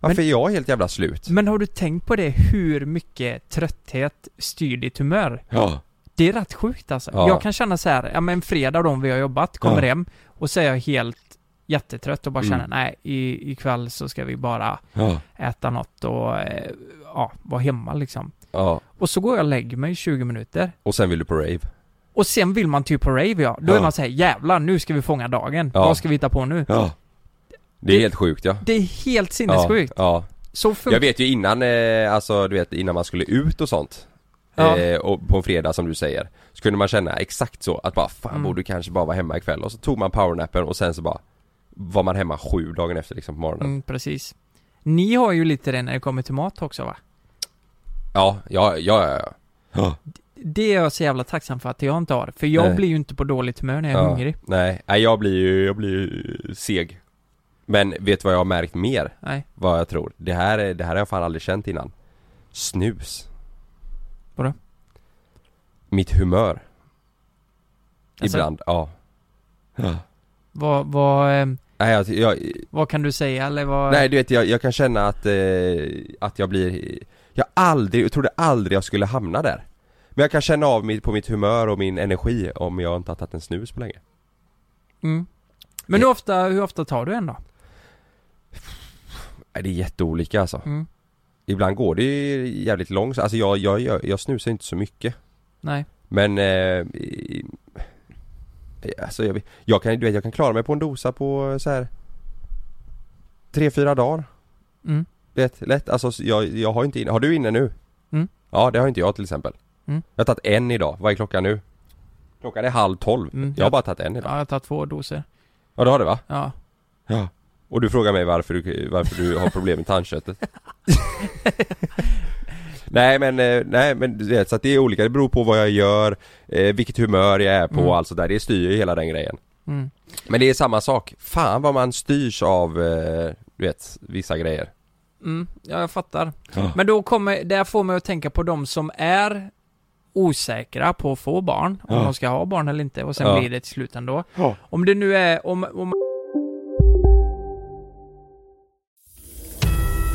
[SPEAKER 1] Varför
[SPEAKER 2] Men-
[SPEAKER 1] är jag helt jävla slut?
[SPEAKER 2] Men har du tänkt på det hur mycket trötthet styr ditt humör?
[SPEAKER 1] Ja
[SPEAKER 2] Det är rätt sjukt alltså.
[SPEAKER 1] Ja.
[SPEAKER 2] Jag kan känna så här, ja men fredag då om vi har jobbat, kommer
[SPEAKER 1] Ja.
[SPEAKER 2] hem och så är jag helt jättetrött och bara
[SPEAKER 1] Mm.
[SPEAKER 2] känner nej, i, ikväll så ska vi bara
[SPEAKER 1] Ja,
[SPEAKER 2] äta något och eh, ja, vara hemma liksom.
[SPEAKER 1] ja.
[SPEAKER 2] Och så går jag och lägger mig i 20 minuter.
[SPEAKER 1] och sen vill du på rave?
[SPEAKER 2] Och sen vill man typ på rave ja. Då
[SPEAKER 1] Ja.
[SPEAKER 2] är man såhär, jävlar nu ska vi fånga dagen.
[SPEAKER 1] Ja.
[SPEAKER 2] Vad ska vi hitta på nu?
[SPEAKER 1] Det är
[SPEAKER 2] Det-
[SPEAKER 1] helt sjukt ja
[SPEAKER 2] Det är helt sinnessjukt.
[SPEAKER 1] Ja, ja.
[SPEAKER 2] Så funkar
[SPEAKER 1] Jag vet ju innan, eh, alltså du vet innan man skulle ut och sånt
[SPEAKER 2] Ja.
[SPEAKER 1] eh, och på en fredag som du säger Så kunde man känna exakt så att bara fan
[SPEAKER 2] Mm.
[SPEAKER 1] borde kanske bara vara hemma ikväll och så tog man powernappen och sen så bara Var man hemma sju dagen efter liksom på morgonen
[SPEAKER 2] mm, precis. Ni har ju lite det när det kommer till mat också va?
[SPEAKER 1] Ja, ja, ja, ja, ja.
[SPEAKER 2] Det är jag så jävla tacksam för att jag inte har. För jag
[SPEAKER 1] Nej.
[SPEAKER 2] blir ju inte på dåligt humör när jag är
[SPEAKER 1] ja.
[SPEAKER 2] hungrig.
[SPEAKER 1] Nej, nej jag blir ju, jag blir ju seg Men vet du vad jag har märkt mer?
[SPEAKER 2] Nej.
[SPEAKER 1] Vad jag tror? Det här, är- det här har jag fan aldrig känt innan Snus
[SPEAKER 2] Vadå?
[SPEAKER 1] Mitt humör
[SPEAKER 2] Alltså-
[SPEAKER 1] Ibland, ja
[SPEAKER 2] Vad, vad, eh,
[SPEAKER 1] Nej, jag, jag,
[SPEAKER 2] vad kan du säga eller vad?
[SPEAKER 1] nej du vet jag, jag kan känna att, eh, att jag blir Jag aldrig, jag trodde aldrig jag skulle hamna där Men jag kan känna av mitt, på mitt humör och min energi om jag inte har tagit en snus på länge
[SPEAKER 2] Mm. Men hur ofta, hur ofta tar du en då?
[SPEAKER 1] Nej det är jätteolika alltså
[SPEAKER 2] Mm.
[SPEAKER 1] Ibland går det ju jävligt långt, alltså jag, jag, jag, jag snusar inte så mycket
[SPEAKER 2] Nej.
[SPEAKER 1] Men eh, i- Alltså jag, jag kan, du vet jag kan klara mig på en dosa på eh, så här tre fyra dagar
[SPEAKER 2] Mm.
[SPEAKER 1] Lätt, lätt, alltså så jag, jag har inte inne, har du inne nu?
[SPEAKER 2] Mm.
[SPEAKER 1] Ja det har inte jag till exempel
[SPEAKER 2] Mm.
[SPEAKER 1] Jag har tagit en idag, vad är klockan nu? Klockan är halv tolv,
[SPEAKER 2] Mm.
[SPEAKER 1] jag har bara tagit en
[SPEAKER 2] Ja,
[SPEAKER 1] idag
[SPEAKER 2] jag tar två doser.
[SPEAKER 1] Ja det har du va?
[SPEAKER 2] Ja.
[SPEAKER 1] Ja Och du frågar mig varför du, varför du har problem med tandköttet Nej men, eh, nej men du vet, så att det är olika, det beror på vad jag gör eh, Vilket humör jag är på
[SPEAKER 2] Mm.
[SPEAKER 1] och allt sådär, det styr ju hela den grejen
[SPEAKER 2] Mm.
[SPEAKER 1] Men det är samma sak, fan vad man styrs av, eh, du vet, vissa grejer
[SPEAKER 2] Mm. Ja, jag fattar.
[SPEAKER 1] Ja.
[SPEAKER 2] Men då kommer, det här får mig att tänka på de som är osäkra på att få barn, om
[SPEAKER 1] Ja.
[SPEAKER 2] de ska ha barn eller inte, och sen
[SPEAKER 1] Ja.
[SPEAKER 2] blir det till slut ändå.
[SPEAKER 1] Ja.
[SPEAKER 2] Om det nu är, om, om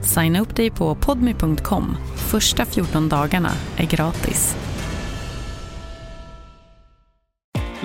[SPEAKER 3] Signa upp dig på podmi.com. Första 14 dagarna är gratis.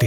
[SPEAKER 4] Det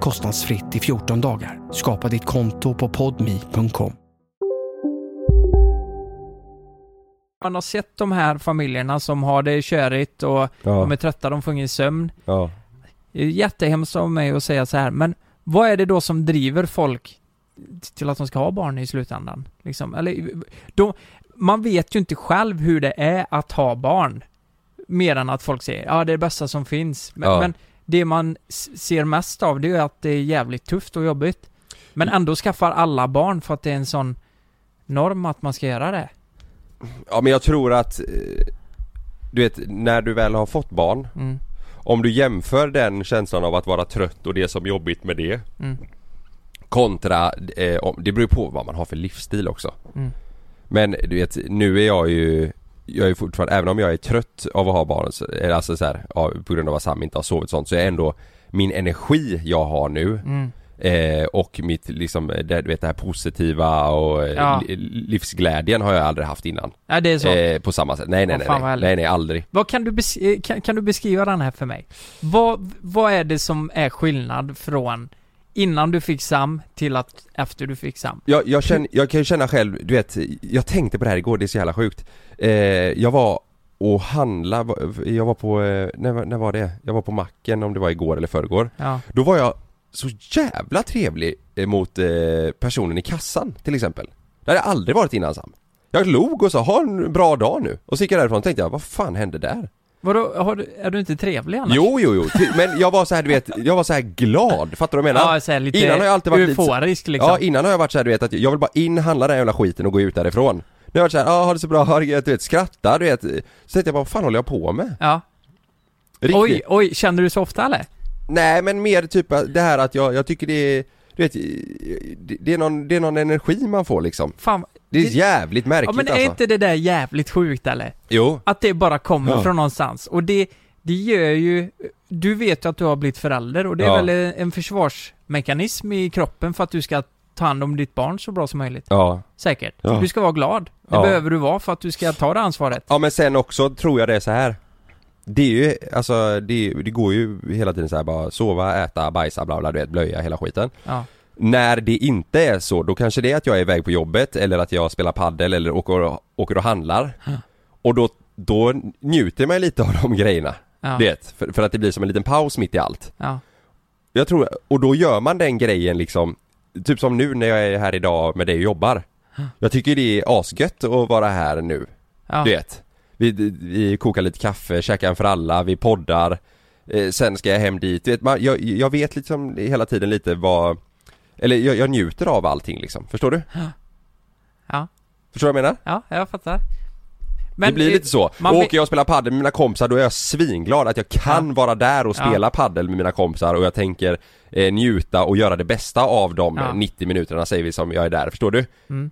[SPEAKER 4] kostnadsfritt i 14 dagar. Skapa ditt konto på podmi.com.
[SPEAKER 2] Man har sett de här familjerna som har det körigt och
[SPEAKER 1] Ja,
[SPEAKER 2] de är trötta, de får ingen sömn.
[SPEAKER 1] ja.
[SPEAKER 2] Det är jättehemskt av mig att säga så här, men vad är det då som driver folk t- till att de ska ha barn i slutändan? Liksom, eller, de, man vet ju inte själv hur det är att ha barn. Mer än att folk säger ja det är det bästa som finns. Men,
[SPEAKER 1] Ja.
[SPEAKER 2] men det man s- ser mest av det är ju att det är jävligt tufft och jobbigt. Men
[SPEAKER 1] Mm.
[SPEAKER 2] ändå skaffar alla barn för att det är en sån norm att man ska göra det.
[SPEAKER 1] ja men jag tror att eh, Du vet, när du väl har fått barn
[SPEAKER 2] Mm.
[SPEAKER 1] Om du jämför den känslan av att vara trött och det som är jobbigt med det
[SPEAKER 2] Mm.
[SPEAKER 1] Kontra, eh, om- det beror ju på vad man har för livsstil också
[SPEAKER 2] Mm.
[SPEAKER 1] Men du vet, nu är jag ju Jag är fortfarande, även om jag är trött av att ha barn så, eller alltså så här, ja, på grund av att Sam inte har sovit och sånt så är ändå Min energi jag har nu
[SPEAKER 2] Mm.
[SPEAKER 1] eh, Och mitt liksom, eh, det, du vet det här positiva och eh,
[SPEAKER 2] Ja.
[SPEAKER 1] li- livsglädjen har jag aldrig haft innan
[SPEAKER 2] Ja, det är så.
[SPEAKER 1] Eh, på samma sätt. Nej, nej,
[SPEAKER 2] Åh,
[SPEAKER 1] nej,
[SPEAKER 2] fan vad
[SPEAKER 1] nej.
[SPEAKER 2] härligt.
[SPEAKER 1] nej, nej, aldrig.
[SPEAKER 2] Vad kan du, bes- eh, kan, kan du beskriva den här för mig? Vad, vad är det som är skillnad från innan du fick SAM till att efter du fick SAM?
[SPEAKER 1] Jag, jag, känner, jag kan ju känna själv, du vet, jag tänkte på det här igår, det är så jävla sjukt. Eh, jag var och handla, jag var på, eh, när, var- när var det? Jag var på macken om det var igår eller förrgår.
[SPEAKER 2] Ja,
[SPEAKER 1] Då var jag så jävla trevlig eh, mot eh, personen i kassan till exempel. Det hade jag aldrig varit innan Sam. Jag log och sa ha en bra dag nu. Och så gick jag därifrån och tänkte jag, vad fan hände där?
[SPEAKER 2] vadå, har du, är du inte trevlig annars?
[SPEAKER 1] Jo, jo, jo. Ty- Men jag var så här, du vet, jag var så här glad. Fattar du vad jag menar?
[SPEAKER 2] Ja, så här, lite
[SPEAKER 1] Innan har jag alltid varit lite-
[SPEAKER 2] euforisk liksom.
[SPEAKER 1] Ja, innan har jag varit så här, du vet att jag vill bara in, handla den här jävla skiten och gå ut därifrån Nu har jag varit såhär, ja ha det så bra, ha det gött", du vet, skratta, du vet Så tänkte jag bara, vad fan håller jag på med?
[SPEAKER 2] Ja.
[SPEAKER 1] Riktigt.
[SPEAKER 2] Oj, oj, känner du så ofta eller?
[SPEAKER 1] Nej men mer typ att det här att jag, jag tycker det är, du vet, det- det är, någon, det är någon energi man får liksom
[SPEAKER 2] Fan,
[SPEAKER 1] Det är jävligt märkligt
[SPEAKER 2] ja, men är
[SPEAKER 1] alltså
[SPEAKER 2] inte det där jävligt sjukt eller?
[SPEAKER 1] Jo,
[SPEAKER 2] Att det bara kommer
[SPEAKER 1] Ja.
[SPEAKER 2] från någonstans. Och det, det gör ju... Du vet ju att du har blivit förälder och det är
[SPEAKER 1] Ja.
[SPEAKER 2] väl en- en försvarsmekanism i kroppen för att du ska ta hand om ditt barn så bra som möjligt.
[SPEAKER 1] ja
[SPEAKER 2] Säkert.
[SPEAKER 1] Ja.
[SPEAKER 2] Du ska vara glad. Det
[SPEAKER 1] Ja.
[SPEAKER 2] behöver du vara för att du ska ta det ansvaret.
[SPEAKER 1] Ja men sen också tror jag det är så här. Det är ju, alltså det, det går ju hela tiden så här bara sova, äta, bajsa, bla bla du vet, blöja hela skiten
[SPEAKER 2] Ja.
[SPEAKER 1] När det inte är så, då kanske det är att jag är iväg på jobbet eller att jag spelar paddel eller åker, och- åker och handlar Och då, då njuter man ju lite av de grejerna,
[SPEAKER 2] Ja.
[SPEAKER 1] du vet, för, för att det blir som en liten paus mitt i allt
[SPEAKER 2] Ja.
[SPEAKER 1] Jag tror, och då gör man den grejen liksom Typ som nu när jag är här idag med dig och jobbar Jag tycker det är asgött att vara här nu
[SPEAKER 2] Ja.
[SPEAKER 1] du vet vi, vi kokar lite kaffe, käkar en för alla, vi poddar eh, Sen ska jag hem dit, du vet, man, jag, jag vet liksom hela tiden lite vad Eller jag, jag njuter av allting liksom, förstår du?
[SPEAKER 2] Ja.
[SPEAKER 1] Förstår du vad jag menar?
[SPEAKER 2] ja, jag fattar.
[SPEAKER 1] det blir
[SPEAKER 2] eh,
[SPEAKER 1] lite så.
[SPEAKER 2] man
[SPEAKER 1] och
[SPEAKER 2] blir-
[SPEAKER 1] åker jag och spelar padel med mina kompisar då är jag svinglad att jag kan vara där och
[SPEAKER 2] Ja.
[SPEAKER 1] spela padel med mina kompisar och jag tänker eh, njuta och göra det bästa av de
[SPEAKER 2] Ja.
[SPEAKER 1] eh, 90 minuterna säger vi som jag är där, förstår du?
[SPEAKER 2] Mm.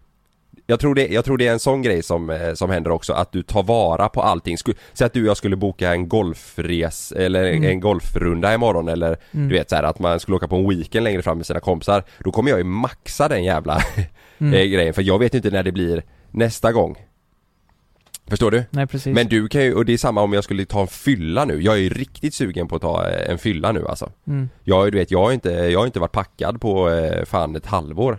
[SPEAKER 1] Jag tror, det, jag tror det är en sån grej som, eh, som händer också, att du tar vara på allting. Sku- Säg att du och jag skulle boka en golfres eller en-
[SPEAKER 2] Mm.
[SPEAKER 1] en golfrunda imorgon eller
[SPEAKER 2] Mm.
[SPEAKER 1] du vet så här att man skulle åka på en weekend längre fram med sina kompisar. Då kommer jag ju maxa den jävla
[SPEAKER 2] Mm.
[SPEAKER 1] eh, grejen för jag vet ju inte när det blir nästa gång. Förstår du?
[SPEAKER 2] Nej, precis.
[SPEAKER 1] Men du kan ju, och det är samma om jag skulle ta en fylla nu. Jag är ju riktigt sugen på att ta eh, en fylla nu alltså.
[SPEAKER 2] Mm.
[SPEAKER 1] Jag, har ju- du vet, jag har inte, jag har inte varit packad på eh, fan ett halvår.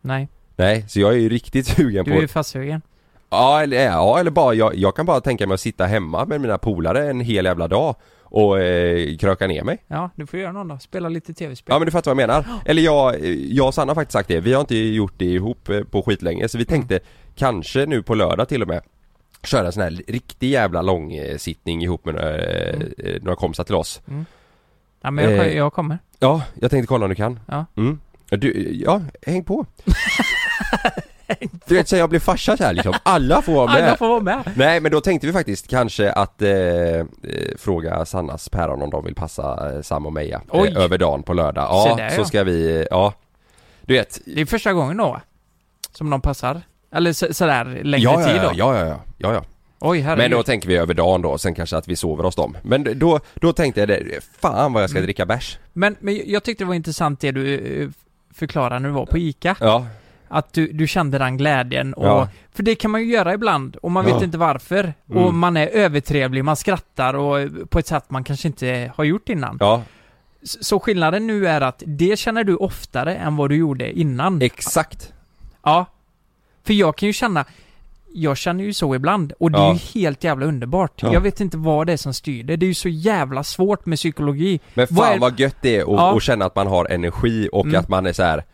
[SPEAKER 2] Nej.
[SPEAKER 1] Nej, så jag är ju riktigt sugen
[SPEAKER 2] Du är
[SPEAKER 1] på
[SPEAKER 2] ju fastsugen.
[SPEAKER 1] Ja eller, ja, eller bara, jag, jag kan bara tänka mig att sitta hemma med mina polare en hel jävla dag och eh, kröka ner mig.
[SPEAKER 2] Ja, du får göra någon då. Spela lite tv-spel.
[SPEAKER 1] Ja men du fattar vad jag menar. Eller jag, jag och Sanna har faktiskt sagt det, vi har inte gjort det ihop eh, på skitlänge så vi
[SPEAKER 2] Mm.
[SPEAKER 1] tänkte kanske nu på lördag till och med köra en sån här riktig jävla lång eh, sittning ihop med några, eh, eh, några kompisar till oss.
[SPEAKER 2] Mm. Ja, men jag,
[SPEAKER 1] Eh,
[SPEAKER 2] jag kommer.
[SPEAKER 1] Ja, jag tänkte kolla om du kan.
[SPEAKER 2] Ja.
[SPEAKER 1] Mm. Du, ja, häng på. du vet sen jag blev farsa så här liksom, alla får vara med.
[SPEAKER 2] Alla får vara med.
[SPEAKER 1] Nej men då tänkte vi faktiskt kanske att eh, eh, fråga Sannas päron om de vill passa eh, Sam och Meja
[SPEAKER 2] Oj.
[SPEAKER 1] eh, över dagen på lördag.
[SPEAKER 2] Se
[SPEAKER 1] Ja,
[SPEAKER 2] där,
[SPEAKER 1] så
[SPEAKER 2] ja.
[SPEAKER 1] ska vi, eh, ja. Du vet.
[SPEAKER 2] Det är första gången då, som de passar. Eller så, sådär längre
[SPEAKER 1] ja,
[SPEAKER 2] tid då.
[SPEAKER 1] ja, ja, ja, ja, ja, ja.
[SPEAKER 2] Oj, herregud.
[SPEAKER 1] Men då tänker vi över dagen då, sen kanske att vi sover hos dem. Men då, då tänkte jag det, fan vad jag ska
[SPEAKER 2] Mm.
[SPEAKER 1] dricka bärs.
[SPEAKER 2] Men, men jag tyckte det var intressant det du eh, förklarade när du var på ICA.
[SPEAKER 1] Ja.
[SPEAKER 2] Att du, du kände den glädjen och...
[SPEAKER 1] Ja.
[SPEAKER 2] För det kan man ju göra ibland och man
[SPEAKER 1] Ja.
[SPEAKER 2] vet inte varför.
[SPEAKER 1] Mm.
[SPEAKER 2] Och man är övertrevlig, man skrattar och eh, på ett sätt man kanske inte har gjort innan.
[SPEAKER 1] Ja.
[SPEAKER 2] S- Så skillnaden nu är att det känner du oftare än vad du gjorde innan.
[SPEAKER 1] Exakt.
[SPEAKER 2] Ja. För jag kan ju känna, jag känner ju så ibland och det är
[SPEAKER 1] Ja.
[SPEAKER 2] ju helt jävla underbart.
[SPEAKER 1] Ja.
[SPEAKER 2] Jag vet inte vad det är som styr det. Det är ju så jävla svårt med psykologi.
[SPEAKER 1] Men fan
[SPEAKER 2] Vad
[SPEAKER 1] vad,
[SPEAKER 2] är-
[SPEAKER 1] gött det är att
[SPEAKER 2] Ja.
[SPEAKER 1] att känna att man har energi och
[SPEAKER 2] Mm.
[SPEAKER 1] att man är så här.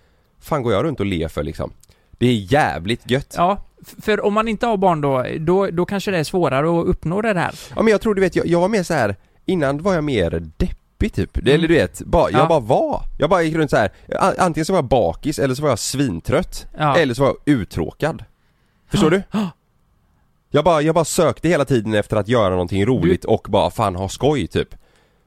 [SPEAKER 1] fan går jag runt och ler för liksom? Det är jävligt gött.
[SPEAKER 2] Ja, f- för om man inte har barn då, då, då kanske det är svårare att uppnå det där.
[SPEAKER 1] Ja men jag tror du vet, jag, jag var mer så här. innan var jag mer deppig typ, Det- eller du vet, bara, jag
[SPEAKER 2] Ja.
[SPEAKER 1] bara var. Jag bara gick runt så här. a- antingen så var jag bakis eller så var jag svintrött,
[SPEAKER 2] Ja.
[SPEAKER 1] eller så var jag uttråkad. Förstår du? Jag bara, jag bara sökte hela tiden efter att göra någonting roligt och bara fan ha skoj typ.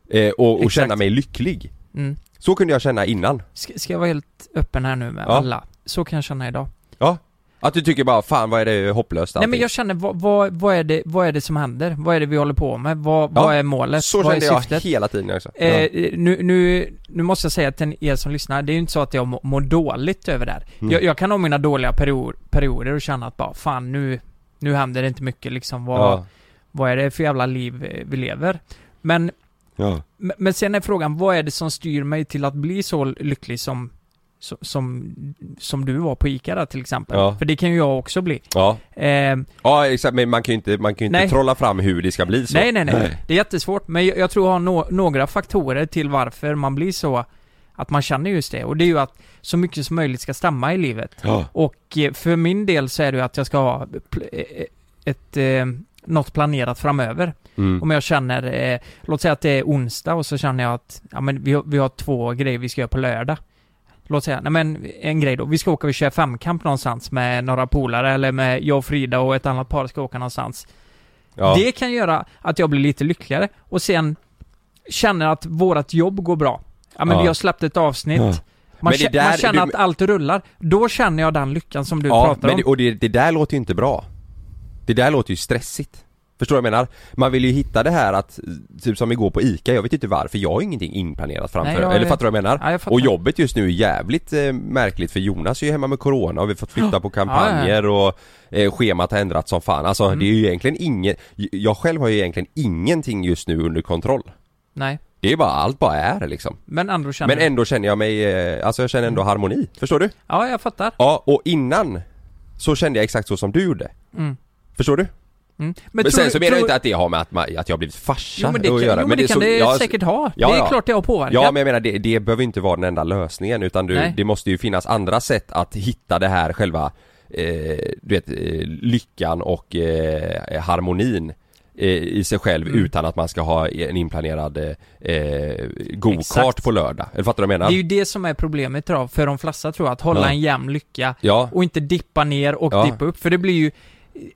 [SPEAKER 1] Eh, och, och
[SPEAKER 2] Exakt.
[SPEAKER 1] känna mig lycklig.
[SPEAKER 2] Mm.
[SPEAKER 1] Så kunde jag känna innan.
[SPEAKER 2] Ska, ska jag vara helt öppen här nu med
[SPEAKER 1] Ja.
[SPEAKER 2] alla? Så kan jag känna idag.
[SPEAKER 1] Ja. Att du tycker bara fan vad är det hopplöst
[SPEAKER 2] Nej men jag känner, vad, vad, vad, är det, vad är det som händer? Vad är det vi håller på med? Vad,
[SPEAKER 1] Ja,
[SPEAKER 2] vad är målet?
[SPEAKER 1] Så
[SPEAKER 2] vad är
[SPEAKER 1] kände jag
[SPEAKER 2] syftet?
[SPEAKER 1] hela tiden också.
[SPEAKER 2] Eh,
[SPEAKER 1] Ja.
[SPEAKER 2] nu, nu, nu måste jag säga till er som lyssnar, det är ju inte så att jag må- mår dåligt över det här.
[SPEAKER 1] Mm.
[SPEAKER 2] Jag, jag kan ha mina dåliga perio- perioder och känna att bara fan nu, nu händer det inte mycket liksom. Vad,
[SPEAKER 1] Ja.
[SPEAKER 2] vad är det för jävla liv eh, vi lever? Men
[SPEAKER 1] Ja.
[SPEAKER 2] Men- Men sen är frågan, vad är det som styr mig till att bli så lycklig som, som, som, som du var på ICA där till exempel?
[SPEAKER 1] Ja.
[SPEAKER 2] För det kan ju jag också bli.
[SPEAKER 1] Ja.
[SPEAKER 2] Eh,
[SPEAKER 1] Ja exakt, men man kan ju inte, man kan ju inte
[SPEAKER 2] Nej.
[SPEAKER 1] trolla fram hur det ska bli så.
[SPEAKER 2] nej, nej, nej, Det är jättesvårt, men jag, jag tror jag har nå- några faktorer till varför man blir så, att man känner just det. Och det är ju att så mycket som möjligt ska stämma i livet.
[SPEAKER 1] Ja.
[SPEAKER 2] Och eh, för min del så är det ju att jag ska ha pl- eh, ett, eh, något planerat framöver.
[SPEAKER 1] Mm.
[SPEAKER 2] Om jag känner, eh, låt säga att det är onsdag och så känner jag att ja, men vi, har, vi har två grejer vi ska göra på lördag. Låt säga, nej men en grej då. Vi ska åka och köra femkamp någonstans med några polare eller med jag och Frida och ett annat par ska åka någonstans.
[SPEAKER 1] Ja.
[SPEAKER 2] Det kan göra att jag blir lite lyckligare och sen känner att vårat jobb går bra. Ja men
[SPEAKER 1] Ja.
[SPEAKER 2] vi har släppt ett avsnitt.
[SPEAKER 1] Ja.
[SPEAKER 2] Man,
[SPEAKER 1] Men det
[SPEAKER 2] kä-
[SPEAKER 1] där-
[SPEAKER 2] man känner
[SPEAKER 1] du-
[SPEAKER 2] att allt rullar. Då känner jag den lyckan som du
[SPEAKER 1] ja,
[SPEAKER 2] pratar
[SPEAKER 1] men
[SPEAKER 2] om.
[SPEAKER 1] det, och det, det där låter ju inte bra. Det där låter ju stressigt. Förstår du vad jag menar? Man vill ju hitta det här att, typ som igår på ICA, jag vet inte varför, jag har ingenting inplanerat framför,
[SPEAKER 2] Nej, jag
[SPEAKER 1] eller
[SPEAKER 2] vet.
[SPEAKER 1] fattar du vad jag menar?
[SPEAKER 2] Ja, jag fattar.
[SPEAKER 1] och jobbet just nu är jävligt eh, märkligt för Jonas är ju hemma med Corona och vi har fått flytta på kampanjer och eh, schemat har ändrats som fan. Alltså
[SPEAKER 2] Mm.
[SPEAKER 1] det är ju egentligen ingen, jag själv har ju egentligen ingenting just nu under kontroll.
[SPEAKER 2] Nej.
[SPEAKER 1] Det är bara, allt bara är liksom.
[SPEAKER 2] Men ändå känner
[SPEAKER 1] Men ändå känner jag mig, eh, alltså jag känner
[SPEAKER 2] Mm.
[SPEAKER 1] ändå harmoni, förstår du?
[SPEAKER 2] Ja, jag fattar.
[SPEAKER 1] Ja, och innan så kände jag exakt så som du gjorde.
[SPEAKER 2] Mm.
[SPEAKER 1] Förstår du?
[SPEAKER 2] Mm.
[SPEAKER 1] Men,
[SPEAKER 2] tror
[SPEAKER 1] sen
[SPEAKER 2] du-
[SPEAKER 1] så menar
[SPEAKER 2] tror-
[SPEAKER 1] jag inte att det har med att, man, att jag har blivit farsa
[SPEAKER 2] Jo men det kan,
[SPEAKER 1] att göra.
[SPEAKER 2] jo, men det,
[SPEAKER 1] är
[SPEAKER 2] kan
[SPEAKER 1] så-
[SPEAKER 2] det
[SPEAKER 1] ja,
[SPEAKER 2] säkert ha.
[SPEAKER 1] ja,
[SPEAKER 2] det är
[SPEAKER 1] ja.
[SPEAKER 2] klart det har påverkat.
[SPEAKER 1] Ja men jag menar det, det behöver inte vara den enda lösningen utan du,
[SPEAKER 2] Nej.
[SPEAKER 1] det måste ju finnas andra sätt att hitta det här själva eh, du vet, eh, lyckan och eh, harmonin eh, i sig själv
[SPEAKER 2] Mm.
[SPEAKER 1] utan att man ska ha en inplanerad eh, eh, gokart
[SPEAKER 2] Exakt.
[SPEAKER 1] på lördag. Eller fattar du vad jag
[SPEAKER 2] Det
[SPEAKER 1] menar?
[SPEAKER 2] är ju det som är problemet idag för de flesta tror jag, att hålla
[SPEAKER 1] Ja.
[SPEAKER 2] en jämn lycka
[SPEAKER 1] Ja.
[SPEAKER 2] och inte dippa ner och
[SPEAKER 1] Ja.
[SPEAKER 2] dippa upp. För det blir ju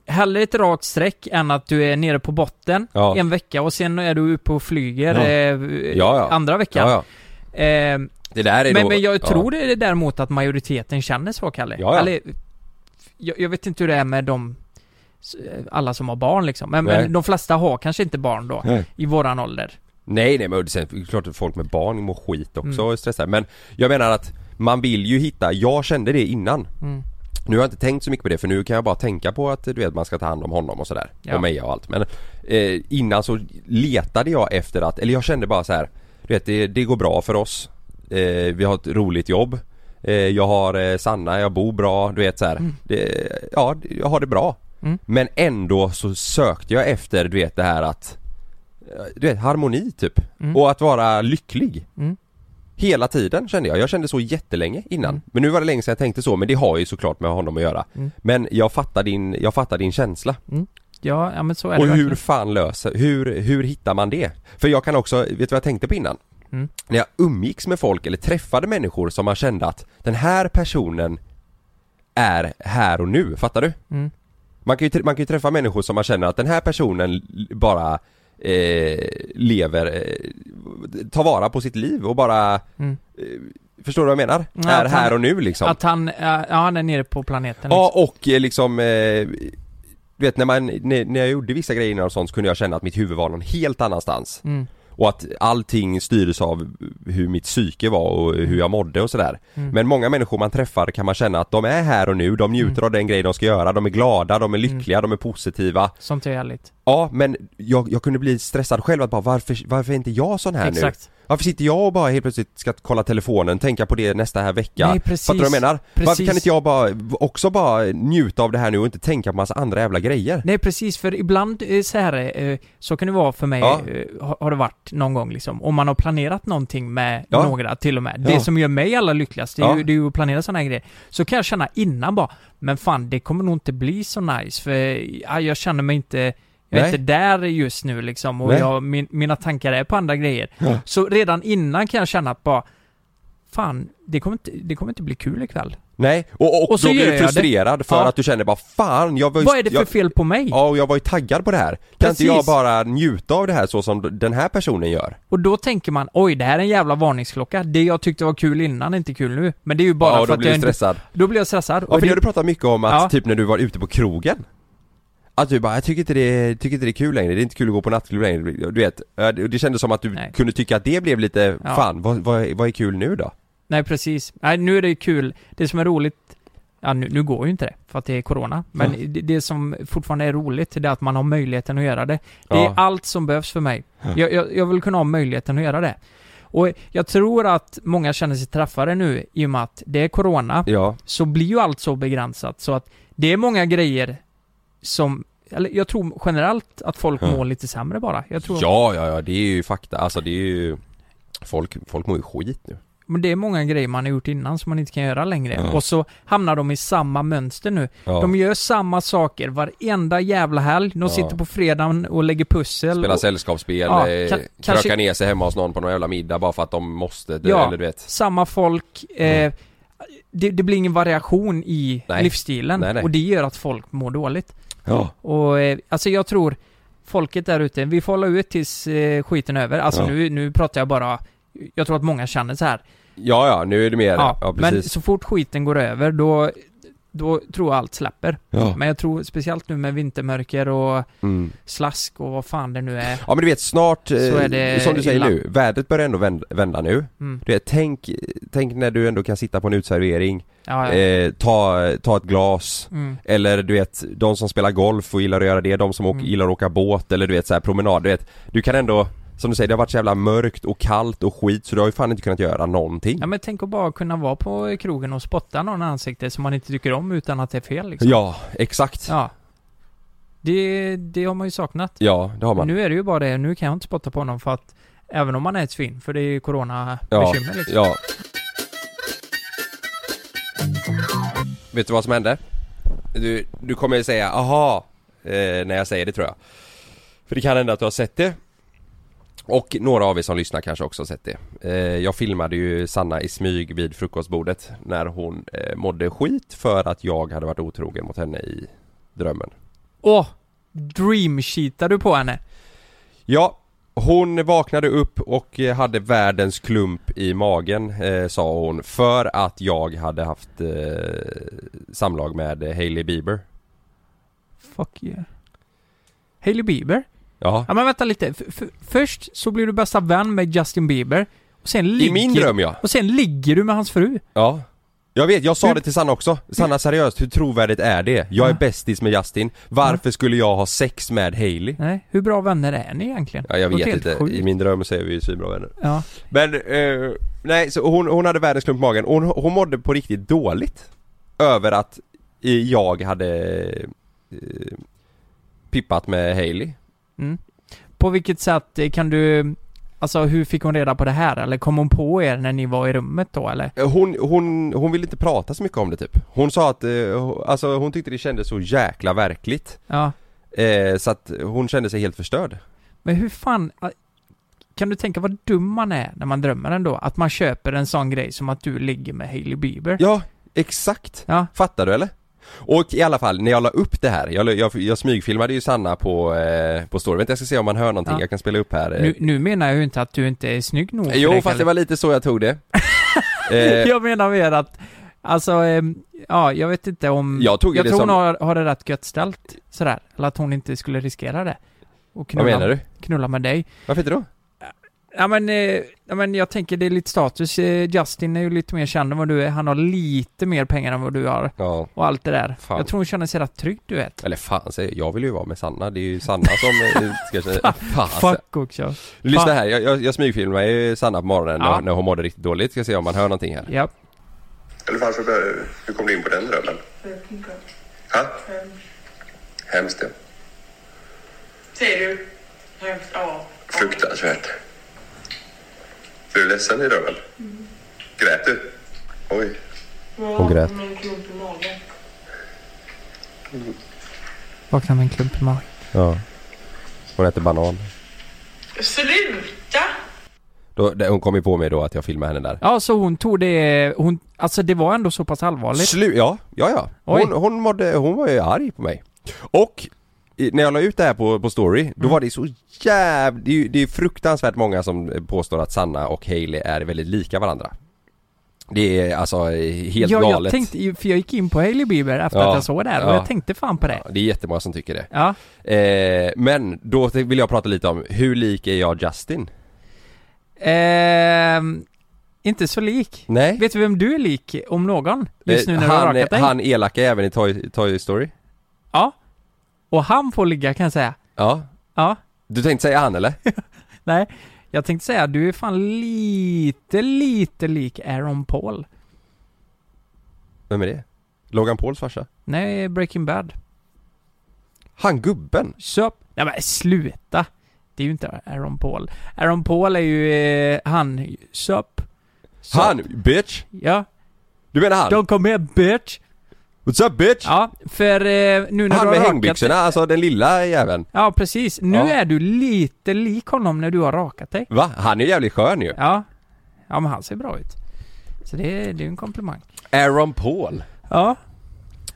[SPEAKER 2] hellre ett rakt streck än att du är nere på botten
[SPEAKER 1] Ja.
[SPEAKER 2] en vecka och sen är du uppe och flyger
[SPEAKER 1] Ja.
[SPEAKER 2] eh,
[SPEAKER 1] Ja, ja.
[SPEAKER 2] andra veckan.
[SPEAKER 1] Ja, ja.
[SPEAKER 2] Eh,
[SPEAKER 1] Det där är
[SPEAKER 2] men,
[SPEAKER 1] då,
[SPEAKER 2] men jag
[SPEAKER 1] ja.
[SPEAKER 2] tror det är däremot att majoriteten känner så Kalle.
[SPEAKER 1] Ja, ja.
[SPEAKER 2] Eller, jag, jag vet inte hur det är med de s- alla som har barn liksom. Men,
[SPEAKER 1] Nej.
[SPEAKER 2] men de flesta har kanske inte barn då,
[SPEAKER 1] Nej.
[SPEAKER 2] i våran ålder.
[SPEAKER 1] Nej nej men det är klart att folk med barn mår skit också
[SPEAKER 2] Mm.
[SPEAKER 1] och är stressade men jag menar att man vill ju hitta, jag kände det innan
[SPEAKER 2] Mm.
[SPEAKER 1] Nu har jag inte tänkt så mycket på det för nu kan jag bara tänka på att du vet man ska ta hand om honom och sådär
[SPEAKER 2] Ja.
[SPEAKER 1] och mig och allt men eh, Innan så letade jag efter att, eller jag kände bara så här. Du vet det, det går bra för oss eh, Vi har ett roligt jobb eh, Jag har eh, Sanna, jag bor bra, du vet så här. Det, ja, det- jag har det bra
[SPEAKER 2] Mm.
[SPEAKER 1] Men ändå så sökte jag efter du vet det här att eh, Du vet harmoni typ
[SPEAKER 2] Mm.
[SPEAKER 1] och att vara lycklig
[SPEAKER 2] Mm.
[SPEAKER 1] Hela tiden kände jag, jag kände så jättelänge innan Men nu var det länge sedan jag tänkte så men det har ju såklart med honom att göra
[SPEAKER 2] Mm.
[SPEAKER 1] Men jag fattar din, jag fattar din känsla
[SPEAKER 2] Ja, ja men så är det
[SPEAKER 1] Och hur
[SPEAKER 2] verkligen.
[SPEAKER 1] fan löser, hur, hur hittar man det? För jag kan också, vet du vad jag tänkte på innan?
[SPEAKER 2] Mm.
[SPEAKER 1] När jag umgicks med folk eller träffade människor som man kände att den här personen är här och nu, fattar du?
[SPEAKER 2] Mm.
[SPEAKER 1] Man kan, ju, tr- man kan ju träffa människor som man känner att den här personen l- bara eh, lever, eh, tar vara på sitt liv och bara,
[SPEAKER 2] Mm.
[SPEAKER 1] eh, förstår du vad jag menar?
[SPEAKER 2] Ja,
[SPEAKER 1] är
[SPEAKER 2] att
[SPEAKER 1] här
[SPEAKER 2] han-
[SPEAKER 1] och nu liksom.
[SPEAKER 2] Att han, eh, ja han är nere på planeten
[SPEAKER 1] Ja och eh, liksom eh, Du vet när man, när, när jag gjorde vissa grejer innan och sånt så kunde jag känna att mitt huvud var någon helt annanstans
[SPEAKER 2] Mm.
[SPEAKER 1] Och att allting styrdes av hur mitt psyke var och hur jag mådde och sådär
[SPEAKER 2] Mm.
[SPEAKER 1] Men många människor man träffar kan man känna att de är här och nu, de njuter
[SPEAKER 2] Mm.
[SPEAKER 1] av den grej de ska göra, de är glada, de är lyckliga, de är positiva
[SPEAKER 2] Sånt är liksom, härligt.
[SPEAKER 1] Ja men jag, jag kunde bli stressad själv att bara varför, varför är inte jag sån här
[SPEAKER 2] Exakt.
[SPEAKER 1] nu? Varför sitter jag och bara helt plötsligt ska kolla telefonen, tänka på det nästa här vecka?
[SPEAKER 2] Nej, precis.
[SPEAKER 1] Fattar du vad jag menar? Varför
[SPEAKER 2] Precis.
[SPEAKER 1] kan inte jag bara, också bara njuta av det här nu och inte tänka på massa andra jävla grejer?
[SPEAKER 2] Nej precis, för ibland eh, så här, eh, så kan det vara för mig,
[SPEAKER 1] Ja.
[SPEAKER 2] eh, har- har det varit någon gång liksom, om man har planerat någonting med
[SPEAKER 1] Ja.
[SPEAKER 2] några till och med.
[SPEAKER 1] Ja.
[SPEAKER 2] Det som gör mig allra lyckligast, det är,
[SPEAKER 1] Ja.
[SPEAKER 2] ju, det är ju att planera sådana här grejer. Så kan jag känna innan bara, men fan det kommer nog inte bli så nice, för ja, jag känner mig inte jag är
[SPEAKER 1] Nej.
[SPEAKER 2] inte där just nu liksom och
[SPEAKER 1] Nej.
[SPEAKER 2] jag, min, mina tankar är på andra grejer.
[SPEAKER 1] Ja.
[SPEAKER 2] Så redan innan kan jag känna att bara, fan, det kommer inte, det kommer inte bli kul ikväll.
[SPEAKER 1] Nej, och, och,
[SPEAKER 2] Och så
[SPEAKER 1] då
[SPEAKER 2] gör
[SPEAKER 1] blir
[SPEAKER 2] jag
[SPEAKER 1] du
[SPEAKER 2] det.
[SPEAKER 1] frustrerad för
[SPEAKER 2] Ja.
[SPEAKER 1] att du känner bara fan, jag var ju,
[SPEAKER 2] Vad är det för
[SPEAKER 1] jag,
[SPEAKER 2] fel på mig?
[SPEAKER 1] Ja, och jag var ju taggad på det här. Kan inte
[SPEAKER 2] Precis.
[SPEAKER 1] jag bara njuta av det här så som den här personen gör?
[SPEAKER 2] Och då tänker man, oj det här är en jävla varningsklocka. Det jag tyckte var kul innan är inte kul nu. Men det är ju bara
[SPEAKER 1] ja, och
[SPEAKER 2] för
[SPEAKER 1] då
[SPEAKER 2] att
[SPEAKER 1] blir
[SPEAKER 2] jag
[SPEAKER 1] du stressad.
[SPEAKER 2] Inte, då blir jag stressad.
[SPEAKER 1] Ja,
[SPEAKER 2] Och
[SPEAKER 1] för det har
[SPEAKER 2] det,
[SPEAKER 1] du pratat mycket om att
[SPEAKER 2] Ja.
[SPEAKER 1] typ när du var ute på krogen Att du bara, jag tycker inte det, tycker inte det är kul längre, det är inte kul att gå på nattklubb längre Du vet, eh, det det kändes som att du
[SPEAKER 2] Nej.
[SPEAKER 1] kunde tycka att det blev lite,
[SPEAKER 2] Ja.
[SPEAKER 1] fan vad, vad, vad är kul nu då?
[SPEAKER 2] nej precis. Nej nu är det ju kul. Det som är roligt, ja nu, nu går ju inte det för att det är corona. Men
[SPEAKER 1] Ja.
[SPEAKER 2] det, det som fortfarande är roligt, det är att man har möjligheten att göra det. Det
[SPEAKER 1] Ja.
[SPEAKER 2] är allt som behövs för mig.
[SPEAKER 1] Ja.
[SPEAKER 2] Jag, jag, jag vill kunna ha möjligheten att göra det. Och jag tror att många känner sig träffade nu i och med att det är corona.
[SPEAKER 1] Ja,
[SPEAKER 2] så blir ju allt så begränsat så att det är många grejer som, eller jag tror generellt att folk
[SPEAKER 1] Ja.
[SPEAKER 2] mår lite sämre bara. Jag tror,
[SPEAKER 1] ja, ja, ja det är ju fakta, alltså det är ju Folk, folk mår ju skit nu
[SPEAKER 2] men det är många grejer man har gjort innan som man inte kan göra längre.
[SPEAKER 1] Ja.
[SPEAKER 2] Och så hamnar de i samma mönster nu.
[SPEAKER 1] Ja.
[SPEAKER 2] De gör samma saker varenda jävla helg. De
[SPEAKER 1] Ja.
[SPEAKER 2] sitter på fredagen och lägger pussel.
[SPEAKER 1] Spelar
[SPEAKER 2] och,
[SPEAKER 1] sällskapsspel,
[SPEAKER 2] Ja,
[SPEAKER 1] eh,
[SPEAKER 2] ka-
[SPEAKER 1] krökar
[SPEAKER 2] kanske-
[SPEAKER 1] ner sig hemma hos någon på någon jävla middag bara för att de måste, du,
[SPEAKER 2] Ja.
[SPEAKER 1] eller du vet
[SPEAKER 2] samma folk. Eh, det, det blir ingen variation i
[SPEAKER 1] Mm. Nej.
[SPEAKER 2] livsstilen.
[SPEAKER 1] Nej, nej.
[SPEAKER 2] Och det gör att folk mår dåligt.
[SPEAKER 1] Ja,
[SPEAKER 2] Och eh, alltså jag tror folket där ute, vi får hålla ut tills eh, skiten är över. Alltså
[SPEAKER 1] Ja.
[SPEAKER 2] nu, nu pratar jag bara, jag tror att många känner så här.
[SPEAKER 1] ja, ja nu är det mer, ja,
[SPEAKER 2] men
[SPEAKER 1] precis
[SPEAKER 2] så fort skiten går över då, då tror jag allt släpper.
[SPEAKER 1] Ja.
[SPEAKER 2] Men jag tror speciellt nu med vintermörker och
[SPEAKER 1] Mm.
[SPEAKER 2] slask och vad fan det nu är.
[SPEAKER 1] Ja men du vet snart, eh,
[SPEAKER 2] Så är det
[SPEAKER 1] som du säger
[SPEAKER 2] illa.
[SPEAKER 1] nu, vädret börjar ändå vända, vända nu
[SPEAKER 2] Mm.
[SPEAKER 1] Du vet, tänk, tänk när du ändå kan sitta på en utservering,
[SPEAKER 2] Ja, ja.
[SPEAKER 1] eh, ta, ta ett glas
[SPEAKER 2] Mm.
[SPEAKER 1] Eller du vet, de som spelar golf och gillar att göra det, de som åker,
[SPEAKER 2] Mm.
[SPEAKER 1] gillar att åka båt eller du vet så här promenad, du vet Du kan ändå, som du säger, det har varit så jävla mörkt och kallt och skit så du har ju fan inte kunnat göra någonting
[SPEAKER 2] ja men tänk att bara kunna vara på krogen och spotta någon i ansiktet som man inte tycker om utan att det är fel liksom.
[SPEAKER 1] Ja, exakt! Ja,
[SPEAKER 2] ja. Det, det har man ju saknat.
[SPEAKER 1] det har man
[SPEAKER 2] Nu är det ju bara det, nu kan jag inte spotta på honom för att Även om man är ett svin, för det är ju
[SPEAKER 1] ja,
[SPEAKER 2] coronabekymmer liksom.
[SPEAKER 1] ja Vet du vad som hände? Du, du kommer säga aha eh, när jag säger det tror jag För det kan hända att du har sett det Och några av er som lyssnar kanske också har sett det eh, Jag filmade ju Sanna i smyg vid frukostbordet När hon eh, mådde skit för att jag hade varit otrogen mot henne i drömmen
[SPEAKER 2] Åh! Dreamcheatar du på henne?
[SPEAKER 1] Ja, Hon vaknade upp och eh, hade världens klump i magen eh, sa hon för att jag hade haft eh, samlag med eh, Hailey Bieber.
[SPEAKER 2] Fuck yeah. Hailey Bieber?
[SPEAKER 1] Ja.
[SPEAKER 2] Ja men vänta lite. F- f- först så blir du bästa vän med Justin Bieber. Och sen ligger,
[SPEAKER 1] I min dröm ja.
[SPEAKER 2] Och sen ligger du med hans fru.
[SPEAKER 1] Ja. Jag vet, jag sa det till Sanna också. Sanna seriöst, hur trovärdigt är det? Jag är bästis med Justin. Varför skulle jag ha sex med Hailey?
[SPEAKER 2] Nej, hur bra vänner är ni egentligen?
[SPEAKER 1] Ja, jag
[SPEAKER 2] Låter
[SPEAKER 1] vet
[SPEAKER 2] helt
[SPEAKER 1] inte.
[SPEAKER 2] sjukt.
[SPEAKER 1] I min dröm så är vi ju svinbra vänner.
[SPEAKER 2] Ja.
[SPEAKER 1] Men, eh, nej så hon, hon hade världens klump i magen. Hon, hon mådde på riktigt dåligt. Över att eh, jag hade eh, pippat med Hailey.
[SPEAKER 2] Mm. På vilket sätt eh, kan du... Alltså hur fick hon reda på det här? Eller kom hon på er när ni var i rummet då eller?
[SPEAKER 1] Eh, Hon, hon, hon ville inte prata så mycket om det typ. Hon sa att, eh, ho- alltså hon tyckte det kändes så jäkla verkligt.
[SPEAKER 2] Ja.
[SPEAKER 1] Eh, så att hon kände sig helt förstörd.
[SPEAKER 2] Men hur fan... ah, Kan du tänka vad dum man är när man drömmer ändå? Att man köper en sån grej som att du ligger med Hailey Bieber?
[SPEAKER 1] Ja, exakt. Fattar du eller? Och i alla fall, när jag la upp det här, jag, la- jag, jag smygfilmade ju Sanna på, eh, på story. Vänta jag ska se om man hör någonting,
[SPEAKER 2] Ja.
[SPEAKER 1] jag kan spela upp här. eh.
[SPEAKER 2] Nu, nu menar jag ju inte att du inte är snygg nog för
[SPEAKER 1] jo,
[SPEAKER 2] det,
[SPEAKER 1] fast
[SPEAKER 2] Kalle.
[SPEAKER 1] det var lite så jag tog det. eh,
[SPEAKER 2] Jag menar mer att... Alltså, ehm, ja, jag vet inte om...
[SPEAKER 1] Jag tog ju det
[SPEAKER 2] tror
[SPEAKER 1] som-
[SPEAKER 2] hon har, har det rätt gött ställt sådär. Eller att hon inte skulle riskera det. Och knulla,
[SPEAKER 1] menar du?
[SPEAKER 2] Knulla med dig.
[SPEAKER 1] Varför inte då?
[SPEAKER 2] Ja men, eh, ja men jag tänker det är lite status. Eh, Justin är ju lite mer känd än vad du är. Han har lite mer pengar än vad du har.
[SPEAKER 1] Ja.
[SPEAKER 2] Och allt det där.
[SPEAKER 1] Fan.
[SPEAKER 2] Jag tror hon känner sig rätt trygg du vet.
[SPEAKER 1] Eller fan, säger jag. jag vill ju vara med Sanna. Det är ju Sanna som eh, ska känna... Fan, alltså.
[SPEAKER 2] Fuck också.
[SPEAKER 1] Lyssna
[SPEAKER 2] Fan.
[SPEAKER 1] här, jag, jag, jag smygfilmar ju Sanna på morgonen
[SPEAKER 2] Ja.
[SPEAKER 1] när, när hon mådde riktigt dåligt. Ska se om man hör någonting här.
[SPEAKER 2] Ja.
[SPEAKER 5] Eller varför, bör- hur kom du in på den drömmen? Ha? Hemskt ja.
[SPEAKER 6] Säger du? Hemskt, ja.
[SPEAKER 5] Fruktansvärt. Blev du ledsen i drömmen?
[SPEAKER 2] Mm.
[SPEAKER 5] Grät du? Oj.
[SPEAKER 2] Hon grät. Vakna med en klump i magen.
[SPEAKER 1] Ja. Hon äter banan.
[SPEAKER 6] Sluta!
[SPEAKER 1] Då, det, hon kom ju på mig då att jag filmade henne där.
[SPEAKER 2] Ja, så hon tog det... Hon, alltså det var ändå så pass allvarligt.
[SPEAKER 1] Slu- ja, ja, ja. Hon, hon, mådde, hon var ju arg på mig. Och i- när jag la ut det här på, på story,
[SPEAKER 2] Mm.
[SPEAKER 1] då var det så jävla... Det, är ju- det är fruktansvärt många som påstår att Sanna och Hailey är väldigt lika varandra. Det är alltså helt
[SPEAKER 2] ja,
[SPEAKER 1] galet.
[SPEAKER 2] Jag tänkte, ju- för jag gick in på Hailey Bieber efter
[SPEAKER 1] Ja,
[SPEAKER 2] att jag såg det här och
[SPEAKER 1] ja.
[SPEAKER 2] jag tänkte fan på det.
[SPEAKER 1] Ja, Det är jättemånga som tycker det.
[SPEAKER 2] Ja.
[SPEAKER 1] Eh, men då t- vill jag prata lite om, hur lik är jag Justin?
[SPEAKER 2] Ehm, inte så lik.
[SPEAKER 1] Nej.
[SPEAKER 2] Vet du vem du är lik om någon? Just nu
[SPEAKER 1] Eh,
[SPEAKER 2] när du har
[SPEAKER 1] han,
[SPEAKER 2] rakat dig?
[SPEAKER 1] han elaka även i Toy, Toy Story?
[SPEAKER 2] Ja. Och han får ligga kan jag säga.
[SPEAKER 1] Ja.
[SPEAKER 2] Ja.
[SPEAKER 1] Du tänkte säga han eller?
[SPEAKER 2] Nej. Jag tänkte säga att du är fan lite, lite lik Aaron Paul.
[SPEAKER 1] Vem är det? Logan Pauls farsa?
[SPEAKER 2] Nej, Breaking Bad.
[SPEAKER 1] Han gubben?
[SPEAKER 2] Sup? Nej men sluta! Det är ju inte Aaron Paul. Aaron Paul är ju eh, han... Sup? Sup?
[SPEAKER 1] Han, bitch!
[SPEAKER 2] Ja.
[SPEAKER 1] Du menar han?
[SPEAKER 2] De kom med bitch!
[SPEAKER 1] What's up bitch?
[SPEAKER 2] Ja, för eh,
[SPEAKER 1] Han
[SPEAKER 2] nu när du har
[SPEAKER 1] med
[SPEAKER 2] rakat
[SPEAKER 1] hängbyxorna, alltså den lilla jäveln.
[SPEAKER 2] Ja, precis. Nu
[SPEAKER 1] Ja.
[SPEAKER 2] är du lite lik honom när du har rakat dig.
[SPEAKER 1] Va? Han är ju jävligt skön ju.
[SPEAKER 2] Ja. Ja, men han ser bra ut. Så det, är- det är ju en komplimang.
[SPEAKER 1] Aaron Paul.
[SPEAKER 2] Ja,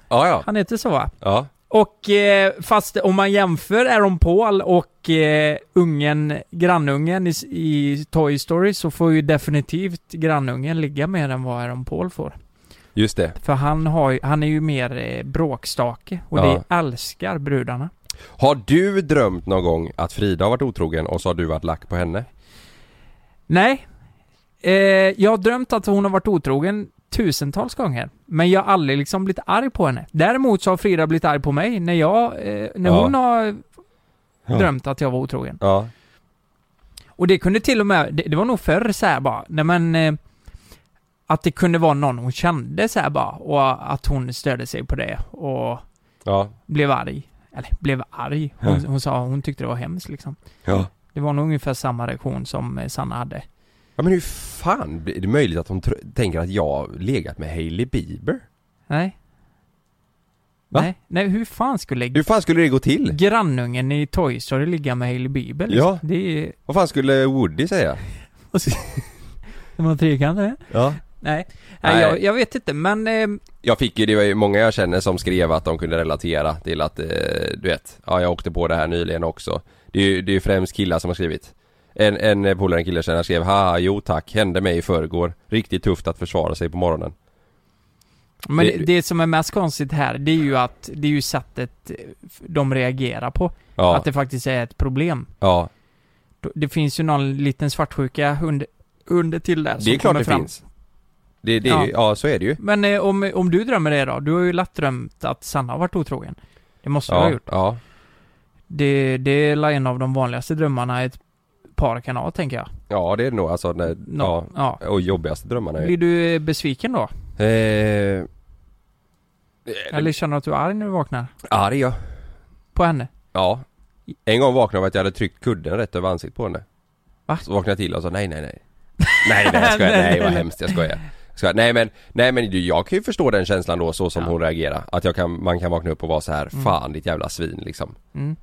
[SPEAKER 1] Ja, ja.
[SPEAKER 2] han heter så va?
[SPEAKER 1] Ja.
[SPEAKER 2] Och eh, fast om man jämför Aaron Paul och eh, ungen, grannungen i, i Toy Story så får ju definitivt grannungen ligga mer än vad Aaron Paul får.
[SPEAKER 1] Just det.
[SPEAKER 2] För han, har, ju- han är ju mer eh, bråkstake och
[SPEAKER 1] Ja.
[SPEAKER 2] det älskar brudarna.
[SPEAKER 1] Har du drömt någon gång att Frida har varit otrogen och så har du varit lack på henne?
[SPEAKER 2] Nej. Eh, jag har drömt att hon har varit otrogen tusentals gånger. Men jag har aldrig liksom blivit arg på henne. Däremot så har Frida blivit arg på mig när jag, eh, när
[SPEAKER 1] Ja.
[SPEAKER 2] hon har
[SPEAKER 1] Ja.
[SPEAKER 2] drömt att jag var otrogen.
[SPEAKER 1] Ja.
[SPEAKER 2] Och det kunde till och med, det, det var nog förr så här bara, nej men eh, att det kunde vara någon hon kände så här bara och att hon störde sig på det och
[SPEAKER 1] Ja.
[SPEAKER 2] blev arg. Eller blev arg. Hon,
[SPEAKER 1] Ja.
[SPEAKER 2] hon sa, hon tyckte det var hemskt liksom.
[SPEAKER 1] Ja.
[SPEAKER 2] Det var nog ungefär samma reaktion som eh, Sanna hade.
[SPEAKER 1] Ja men hur fan är det möjligt att hon tr- tänker att jag har legat med Hailey Bieber?
[SPEAKER 2] Nej.
[SPEAKER 1] Va?
[SPEAKER 2] Nej, nej, hur fan skulle
[SPEAKER 1] Hur fan skulle det gå till?
[SPEAKER 2] grannungen i Toy Story ligga med Hailey Bieber? liksom?
[SPEAKER 1] Ja.
[SPEAKER 2] Det är...
[SPEAKER 1] Vad fan skulle Woody säga?
[SPEAKER 2] De har trekanter.
[SPEAKER 1] Ja.
[SPEAKER 2] Nej,
[SPEAKER 1] Nej.
[SPEAKER 2] nej. Jag, jag vet inte men... Eh,
[SPEAKER 1] Jag fick ju, det var ju många jag känner som skrev att de kunde relatera till att, eh, du vet, ja jag åkte på det här nyligen också. Det är ju det är ju främst killar som har skrivit. En, en polare, en kille jag känner, skrev haha jo tack, hände mig i förrgår. Riktigt tufft att försvara sig på morgonen.
[SPEAKER 2] Men det,
[SPEAKER 1] Det-
[SPEAKER 2] det som är mest konstigt här, det är ju att, det är ju sättet eh, de reagerar på.
[SPEAKER 1] Ja.
[SPEAKER 2] Att det faktiskt är ett problem.
[SPEAKER 1] Ja,
[SPEAKER 2] Då- Det finns ju någon liten svartsjuka under, under till där
[SPEAKER 1] det är
[SPEAKER 2] som
[SPEAKER 1] klart
[SPEAKER 2] kommer
[SPEAKER 1] det
[SPEAKER 2] fram.
[SPEAKER 1] finns. Det, det ja. Ju, ja, så är det ju.
[SPEAKER 2] Men eh, om, om du drömmer det då? Du har ju lätt drömt att Sanna har varit otrogen. Det måste du ha
[SPEAKER 1] Ja,
[SPEAKER 2] gjort.
[SPEAKER 1] ja.
[SPEAKER 2] Det, det är la en av de vanligaste drömmarna ett par kan ha, tänker jag.
[SPEAKER 1] Ja, det är det nog. Alltså, när,
[SPEAKER 2] Nå-
[SPEAKER 1] ja.
[SPEAKER 2] ja.
[SPEAKER 1] Och jobbigaste drömmarna är
[SPEAKER 2] Blir du eh, besviken då?
[SPEAKER 1] Eh,
[SPEAKER 2] Eller känner du att du är arg när du vaknar?
[SPEAKER 1] arg ja.
[SPEAKER 2] På henne?
[SPEAKER 1] Ja. En gång vaknade jag av att jag hade tryckt kudden rätt över ansiktet på henne.
[SPEAKER 2] Va?
[SPEAKER 1] Så vaknade jag till och sa nej, nej, nej. Nej, nej, jag skojar.
[SPEAKER 2] Nej, nej,
[SPEAKER 1] nej, vad
[SPEAKER 2] nej.
[SPEAKER 1] hemskt. Jag skojar. Jag skojar. Nej men, nej men du, jag kan ju förstå den känslan då så som hon reagerar. Att jag kan, man kan vakna upp och vara så här,
[SPEAKER 2] Mm.
[SPEAKER 1] fan ditt jävla svin liksom.
[SPEAKER 2] Mm.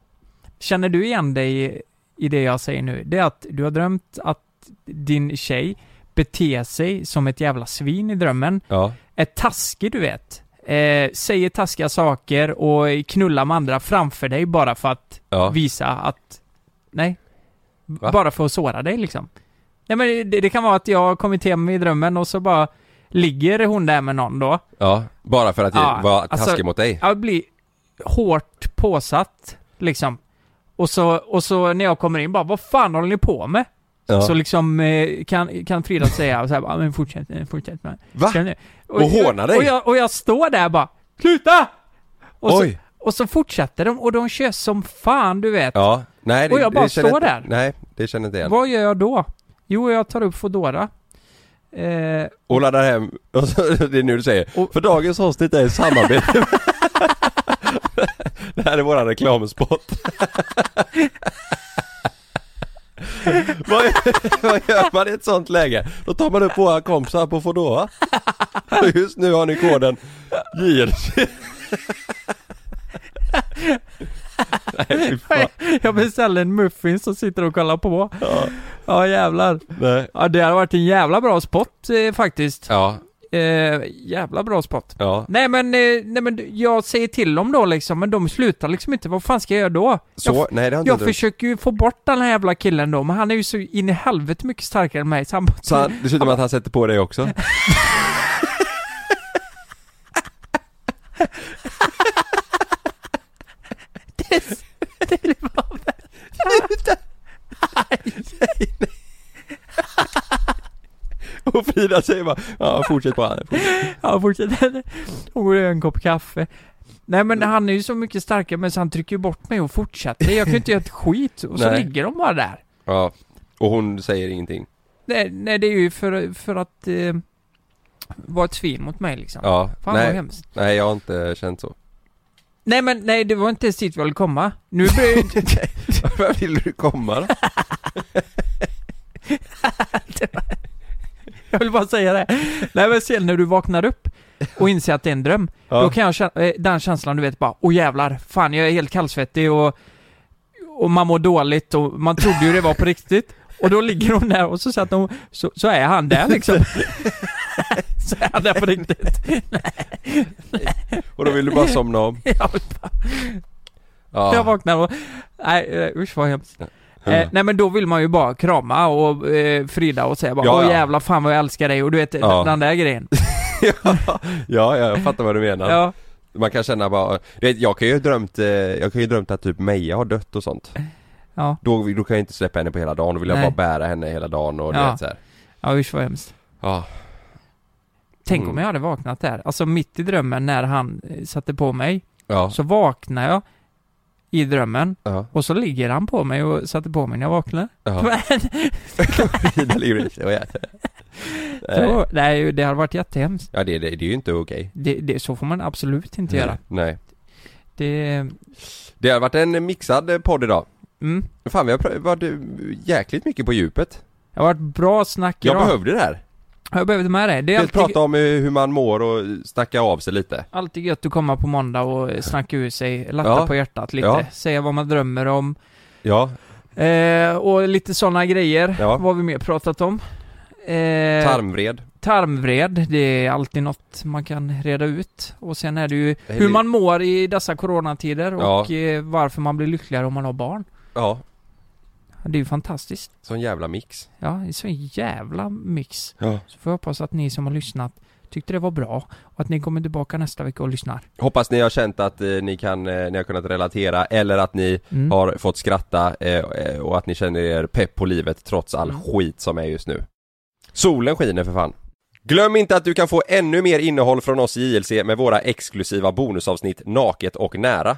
[SPEAKER 2] Känner du igen dig i- i det jag säger nu? Det är att du har drömt att din tjej beter sig som ett jävla svin i drömmen.
[SPEAKER 1] Ja.
[SPEAKER 2] Är taskig, du vet. Eh, säger taskiga saker och knullar med andra framför dig bara för att
[SPEAKER 1] Ja.
[SPEAKER 2] visa att... Nej. B- Bara för att såra dig liksom. Nej men det, det kan vara att jag har kommit hem i drömmen och så bara ligger hon där med någon då.
[SPEAKER 1] Ja, bara för att
[SPEAKER 2] Ja,
[SPEAKER 1] jag var
[SPEAKER 2] alltså,
[SPEAKER 1] taskig mot dig.
[SPEAKER 2] Jag blir hårt påsatt, liksom. Och så, och så när jag kommer in bara, vad fan håller ni på med?
[SPEAKER 1] Ja.
[SPEAKER 2] Så liksom eh, kan, kan Frida säga så här, "Ja, men fortsätt, eh, fortsätt med Va?
[SPEAKER 1] Och håna dig?
[SPEAKER 2] Och jag, och jag står där bara, sluta! Och
[SPEAKER 1] Oj.
[SPEAKER 2] Så, och så fortsätter de och de kör som fan, du vet.
[SPEAKER 1] Ja. Nej, det,
[SPEAKER 2] Och jag bara
[SPEAKER 1] det känner
[SPEAKER 2] står
[SPEAKER 1] inte-
[SPEAKER 2] där.
[SPEAKER 1] Nej, det känner inte igen.
[SPEAKER 2] Vad gör jag då? Jo, jag tar upp Foodora. Eh,
[SPEAKER 1] Och laddar hem, och så, det är nu du säger, för dagens avsnitt är i samarbete med... Det här är våran reklamspot. vad, vad gör man i ett sånt läge? Då tar man upp våra kompisar på Foodora. Och just nu har ni koden JLC. Nej, fy fan.
[SPEAKER 2] jag beställer en muffins och sitter och kollar på. Ja, jävlar.
[SPEAKER 1] Nej.
[SPEAKER 2] Ja, det hade varit en jävla bra spot eh, faktiskt.
[SPEAKER 1] Ja.
[SPEAKER 2] Eh, jävla bra spot.
[SPEAKER 1] Ja.
[SPEAKER 2] Nej men, eh, nej men du- jag säger till dem då liksom, men de slutar liksom inte. Vad fan ska jag göra då?
[SPEAKER 1] Så-
[SPEAKER 2] jag f-
[SPEAKER 1] nej, det har inte
[SPEAKER 2] jag
[SPEAKER 1] du.
[SPEAKER 2] försöker ju få bort den här jävla killen då, men han är ju så in i helvete mycket starkare än mig. Så han, bara-
[SPEAKER 1] Så han, dessutom att han sätter på dig också.
[SPEAKER 6] Sluta!
[SPEAKER 1] Och Frida säger bara, ja fortsätt bara.
[SPEAKER 2] Ja, fortsätter. Hon går och gör en kopp kaffe. Nej men
[SPEAKER 1] Mm.
[SPEAKER 2] han är ju så mycket starkare men så han trycker ju bort mig och fortsätter. Jag kan ju inte göra ett skit. Och så
[SPEAKER 1] Nej.
[SPEAKER 2] ligger de bara där.
[SPEAKER 1] Ja. Och hon säger ingenting.
[SPEAKER 2] Nej, nej det är ju för, för att eh, vara ett svin mot mig liksom.
[SPEAKER 1] Ja,
[SPEAKER 2] Fan vad
[SPEAKER 1] nej,
[SPEAKER 2] hemskt.
[SPEAKER 1] nej jag har inte känt så.
[SPEAKER 2] Nej men nej, det var inte ens dit vi ville komma. Nu börjar ju...
[SPEAKER 1] Var vill du komma då?
[SPEAKER 2] Jag vill bara säga det. Nej men sen när du vaknar upp och inser att det är en dröm.
[SPEAKER 1] Ja.
[SPEAKER 2] Då kan jag känna, eh, den känslan du vet bara, åh jävlar, fan jag är helt kallsvettig och, och man mår dåligt och man trodde ju det var på riktigt. Och då ligger hon där och så satt hon, så, så är han där liksom. så är han där på riktigt.
[SPEAKER 1] Och då vill du bara somna om?
[SPEAKER 2] Jag vill bara-
[SPEAKER 1] Ja.
[SPEAKER 2] Jag vaknar och, nej eh, usch vad hemskt. Eh,
[SPEAKER 1] Mm.
[SPEAKER 2] nej men då vill man ju bara krama och eh, Frida och säga bara
[SPEAKER 1] Ja,
[SPEAKER 2] Åh
[SPEAKER 1] ja.
[SPEAKER 2] jävla fan vad jag älskar dig och du vet
[SPEAKER 1] Ja.
[SPEAKER 2] den där grejen.
[SPEAKER 1] Ja, ja, jag fattar vad du menar.
[SPEAKER 2] Ja.
[SPEAKER 1] Man kan känna bara, du vet, jag kan ju ha drömt, eh, jag kan ju ha drömt att typ Meja har dött och sånt.
[SPEAKER 2] Ja.
[SPEAKER 1] Då, då kan jag inte släppa henne på hela dagen, då vill jag
[SPEAKER 2] Nej.
[SPEAKER 1] bara bära henne hela dagen och du
[SPEAKER 2] Ja.
[SPEAKER 1] vet så här.
[SPEAKER 2] Ja usch vad hemskt.
[SPEAKER 1] Ja.
[SPEAKER 2] Tänk
[SPEAKER 1] Mm.
[SPEAKER 2] om jag hade vaknat där, alltså mitt i drömmen när han eh, satte på mig.
[SPEAKER 1] Ja.
[SPEAKER 2] Så vaknar jag i drömmen
[SPEAKER 1] Ja.
[SPEAKER 2] och så ligger han på mig och satte på mig när jag vaknade.
[SPEAKER 1] Ja.
[SPEAKER 2] Men,
[SPEAKER 1] Frida ligger i sig och äter. Nej.
[SPEAKER 2] så, nej, det hade varit jättehemskt.
[SPEAKER 1] Ja det, det, det är ju inte okej.
[SPEAKER 2] Det, det, så får man absolut inte göra.
[SPEAKER 1] Nej.
[SPEAKER 2] Det,
[SPEAKER 1] Det har varit en mixad eh, podd idag.
[SPEAKER 2] Mm.
[SPEAKER 1] Fan vi har pr- varit eh, jäkligt mycket på djupet.
[SPEAKER 2] det har varit bra snack
[SPEAKER 1] Jag
[SPEAKER 2] idag.
[SPEAKER 1] behövde det här.
[SPEAKER 2] Jag behövde med dig. Det är
[SPEAKER 1] Dels
[SPEAKER 2] alltid,
[SPEAKER 1] prata om eh, hur man mår och snacka av sig lite.
[SPEAKER 2] alltid gött att komma på måndag och snacka ur sig, latta
[SPEAKER 1] Ja.
[SPEAKER 2] på hjärtat lite,
[SPEAKER 1] Ja.
[SPEAKER 2] säga vad man drömmer om.
[SPEAKER 1] Ja,
[SPEAKER 2] Eh, och lite sådana grejer,
[SPEAKER 1] Ja.
[SPEAKER 2] vad har vi mer pratat om? Eh,
[SPEAKER 1] tarmvred.
[SPEAKER 2] Tarmvred, det är alltid något man kan reda ut. Och sen är det ju
[SPEAKER 1] Det är
[SPEAKER 2] hur
[SPEAKER 1] li-
[SPEAKER 2] man mår i dessa coronatider och
[SPEAKER 1] Ja.
[SPEAKER 2] eh, varför man blir lyckligare om man har barn.
[SPEAKER 1] Ja.
[SPEAKER 2] Det är ju fantastiskt.
[SPEAKER 1] Sån jävla mix.
[SPEAKER 2] Ja, det är så jävla mix.
[SPEAKER 1] Ja.
[SPEAKER 2] Så får jag hoppas att ni som har lyssnat tyckte det var bra och att ni kommer tillbaka nästa vecka och lyssnar.
[SPEAKER 1] Hoppas ni har känt att eh, ni kan, eh, ni har kunnat relatera eller att ni
[SPEAKER 2] Mm.
[SPEAKER 1] har fått skratta eh, eh, och att ni känner er pepp på livet trots all
[SPEAKER 7] Mm.
[SPEAKER 1] skit som är just nu. Solen skiner för fan. Glöm inte att du kan få ännu mer innehåll från oss i JLC med våra exklusiva bonusavsnitt Naket och nära.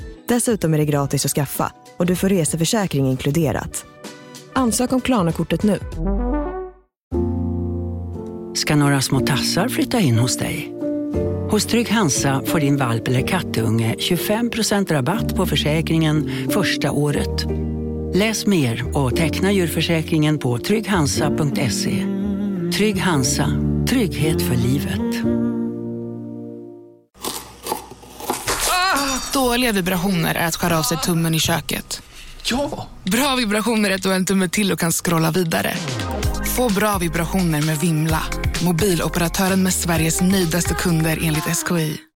[SPEAKER 8] Dessutom är det gratis att skaffa och du får reseförsäkring inkluderat. Ansök om Klarna-kortet nu.
[SPEAKER 9] ska några små tassar flytta in hos dig. Hos Trygg Hansa får din valp eller kattunge 25% rabatt på försäkringen första året. Läs mer och teckna djurförsäkringen på trygghansa.se. Trygg Hansa, trygghet för livet.
[SPEAKER 10] Dåliga vibrationer är att skära av sig tummen i köket. Ja! Bra vibrationer är att du har en tumme till och kan scrolla vidare. Få bra vibrationer med Vimla. Mobiloperatören med Sveriges nöjdaste kunder enligt SKI.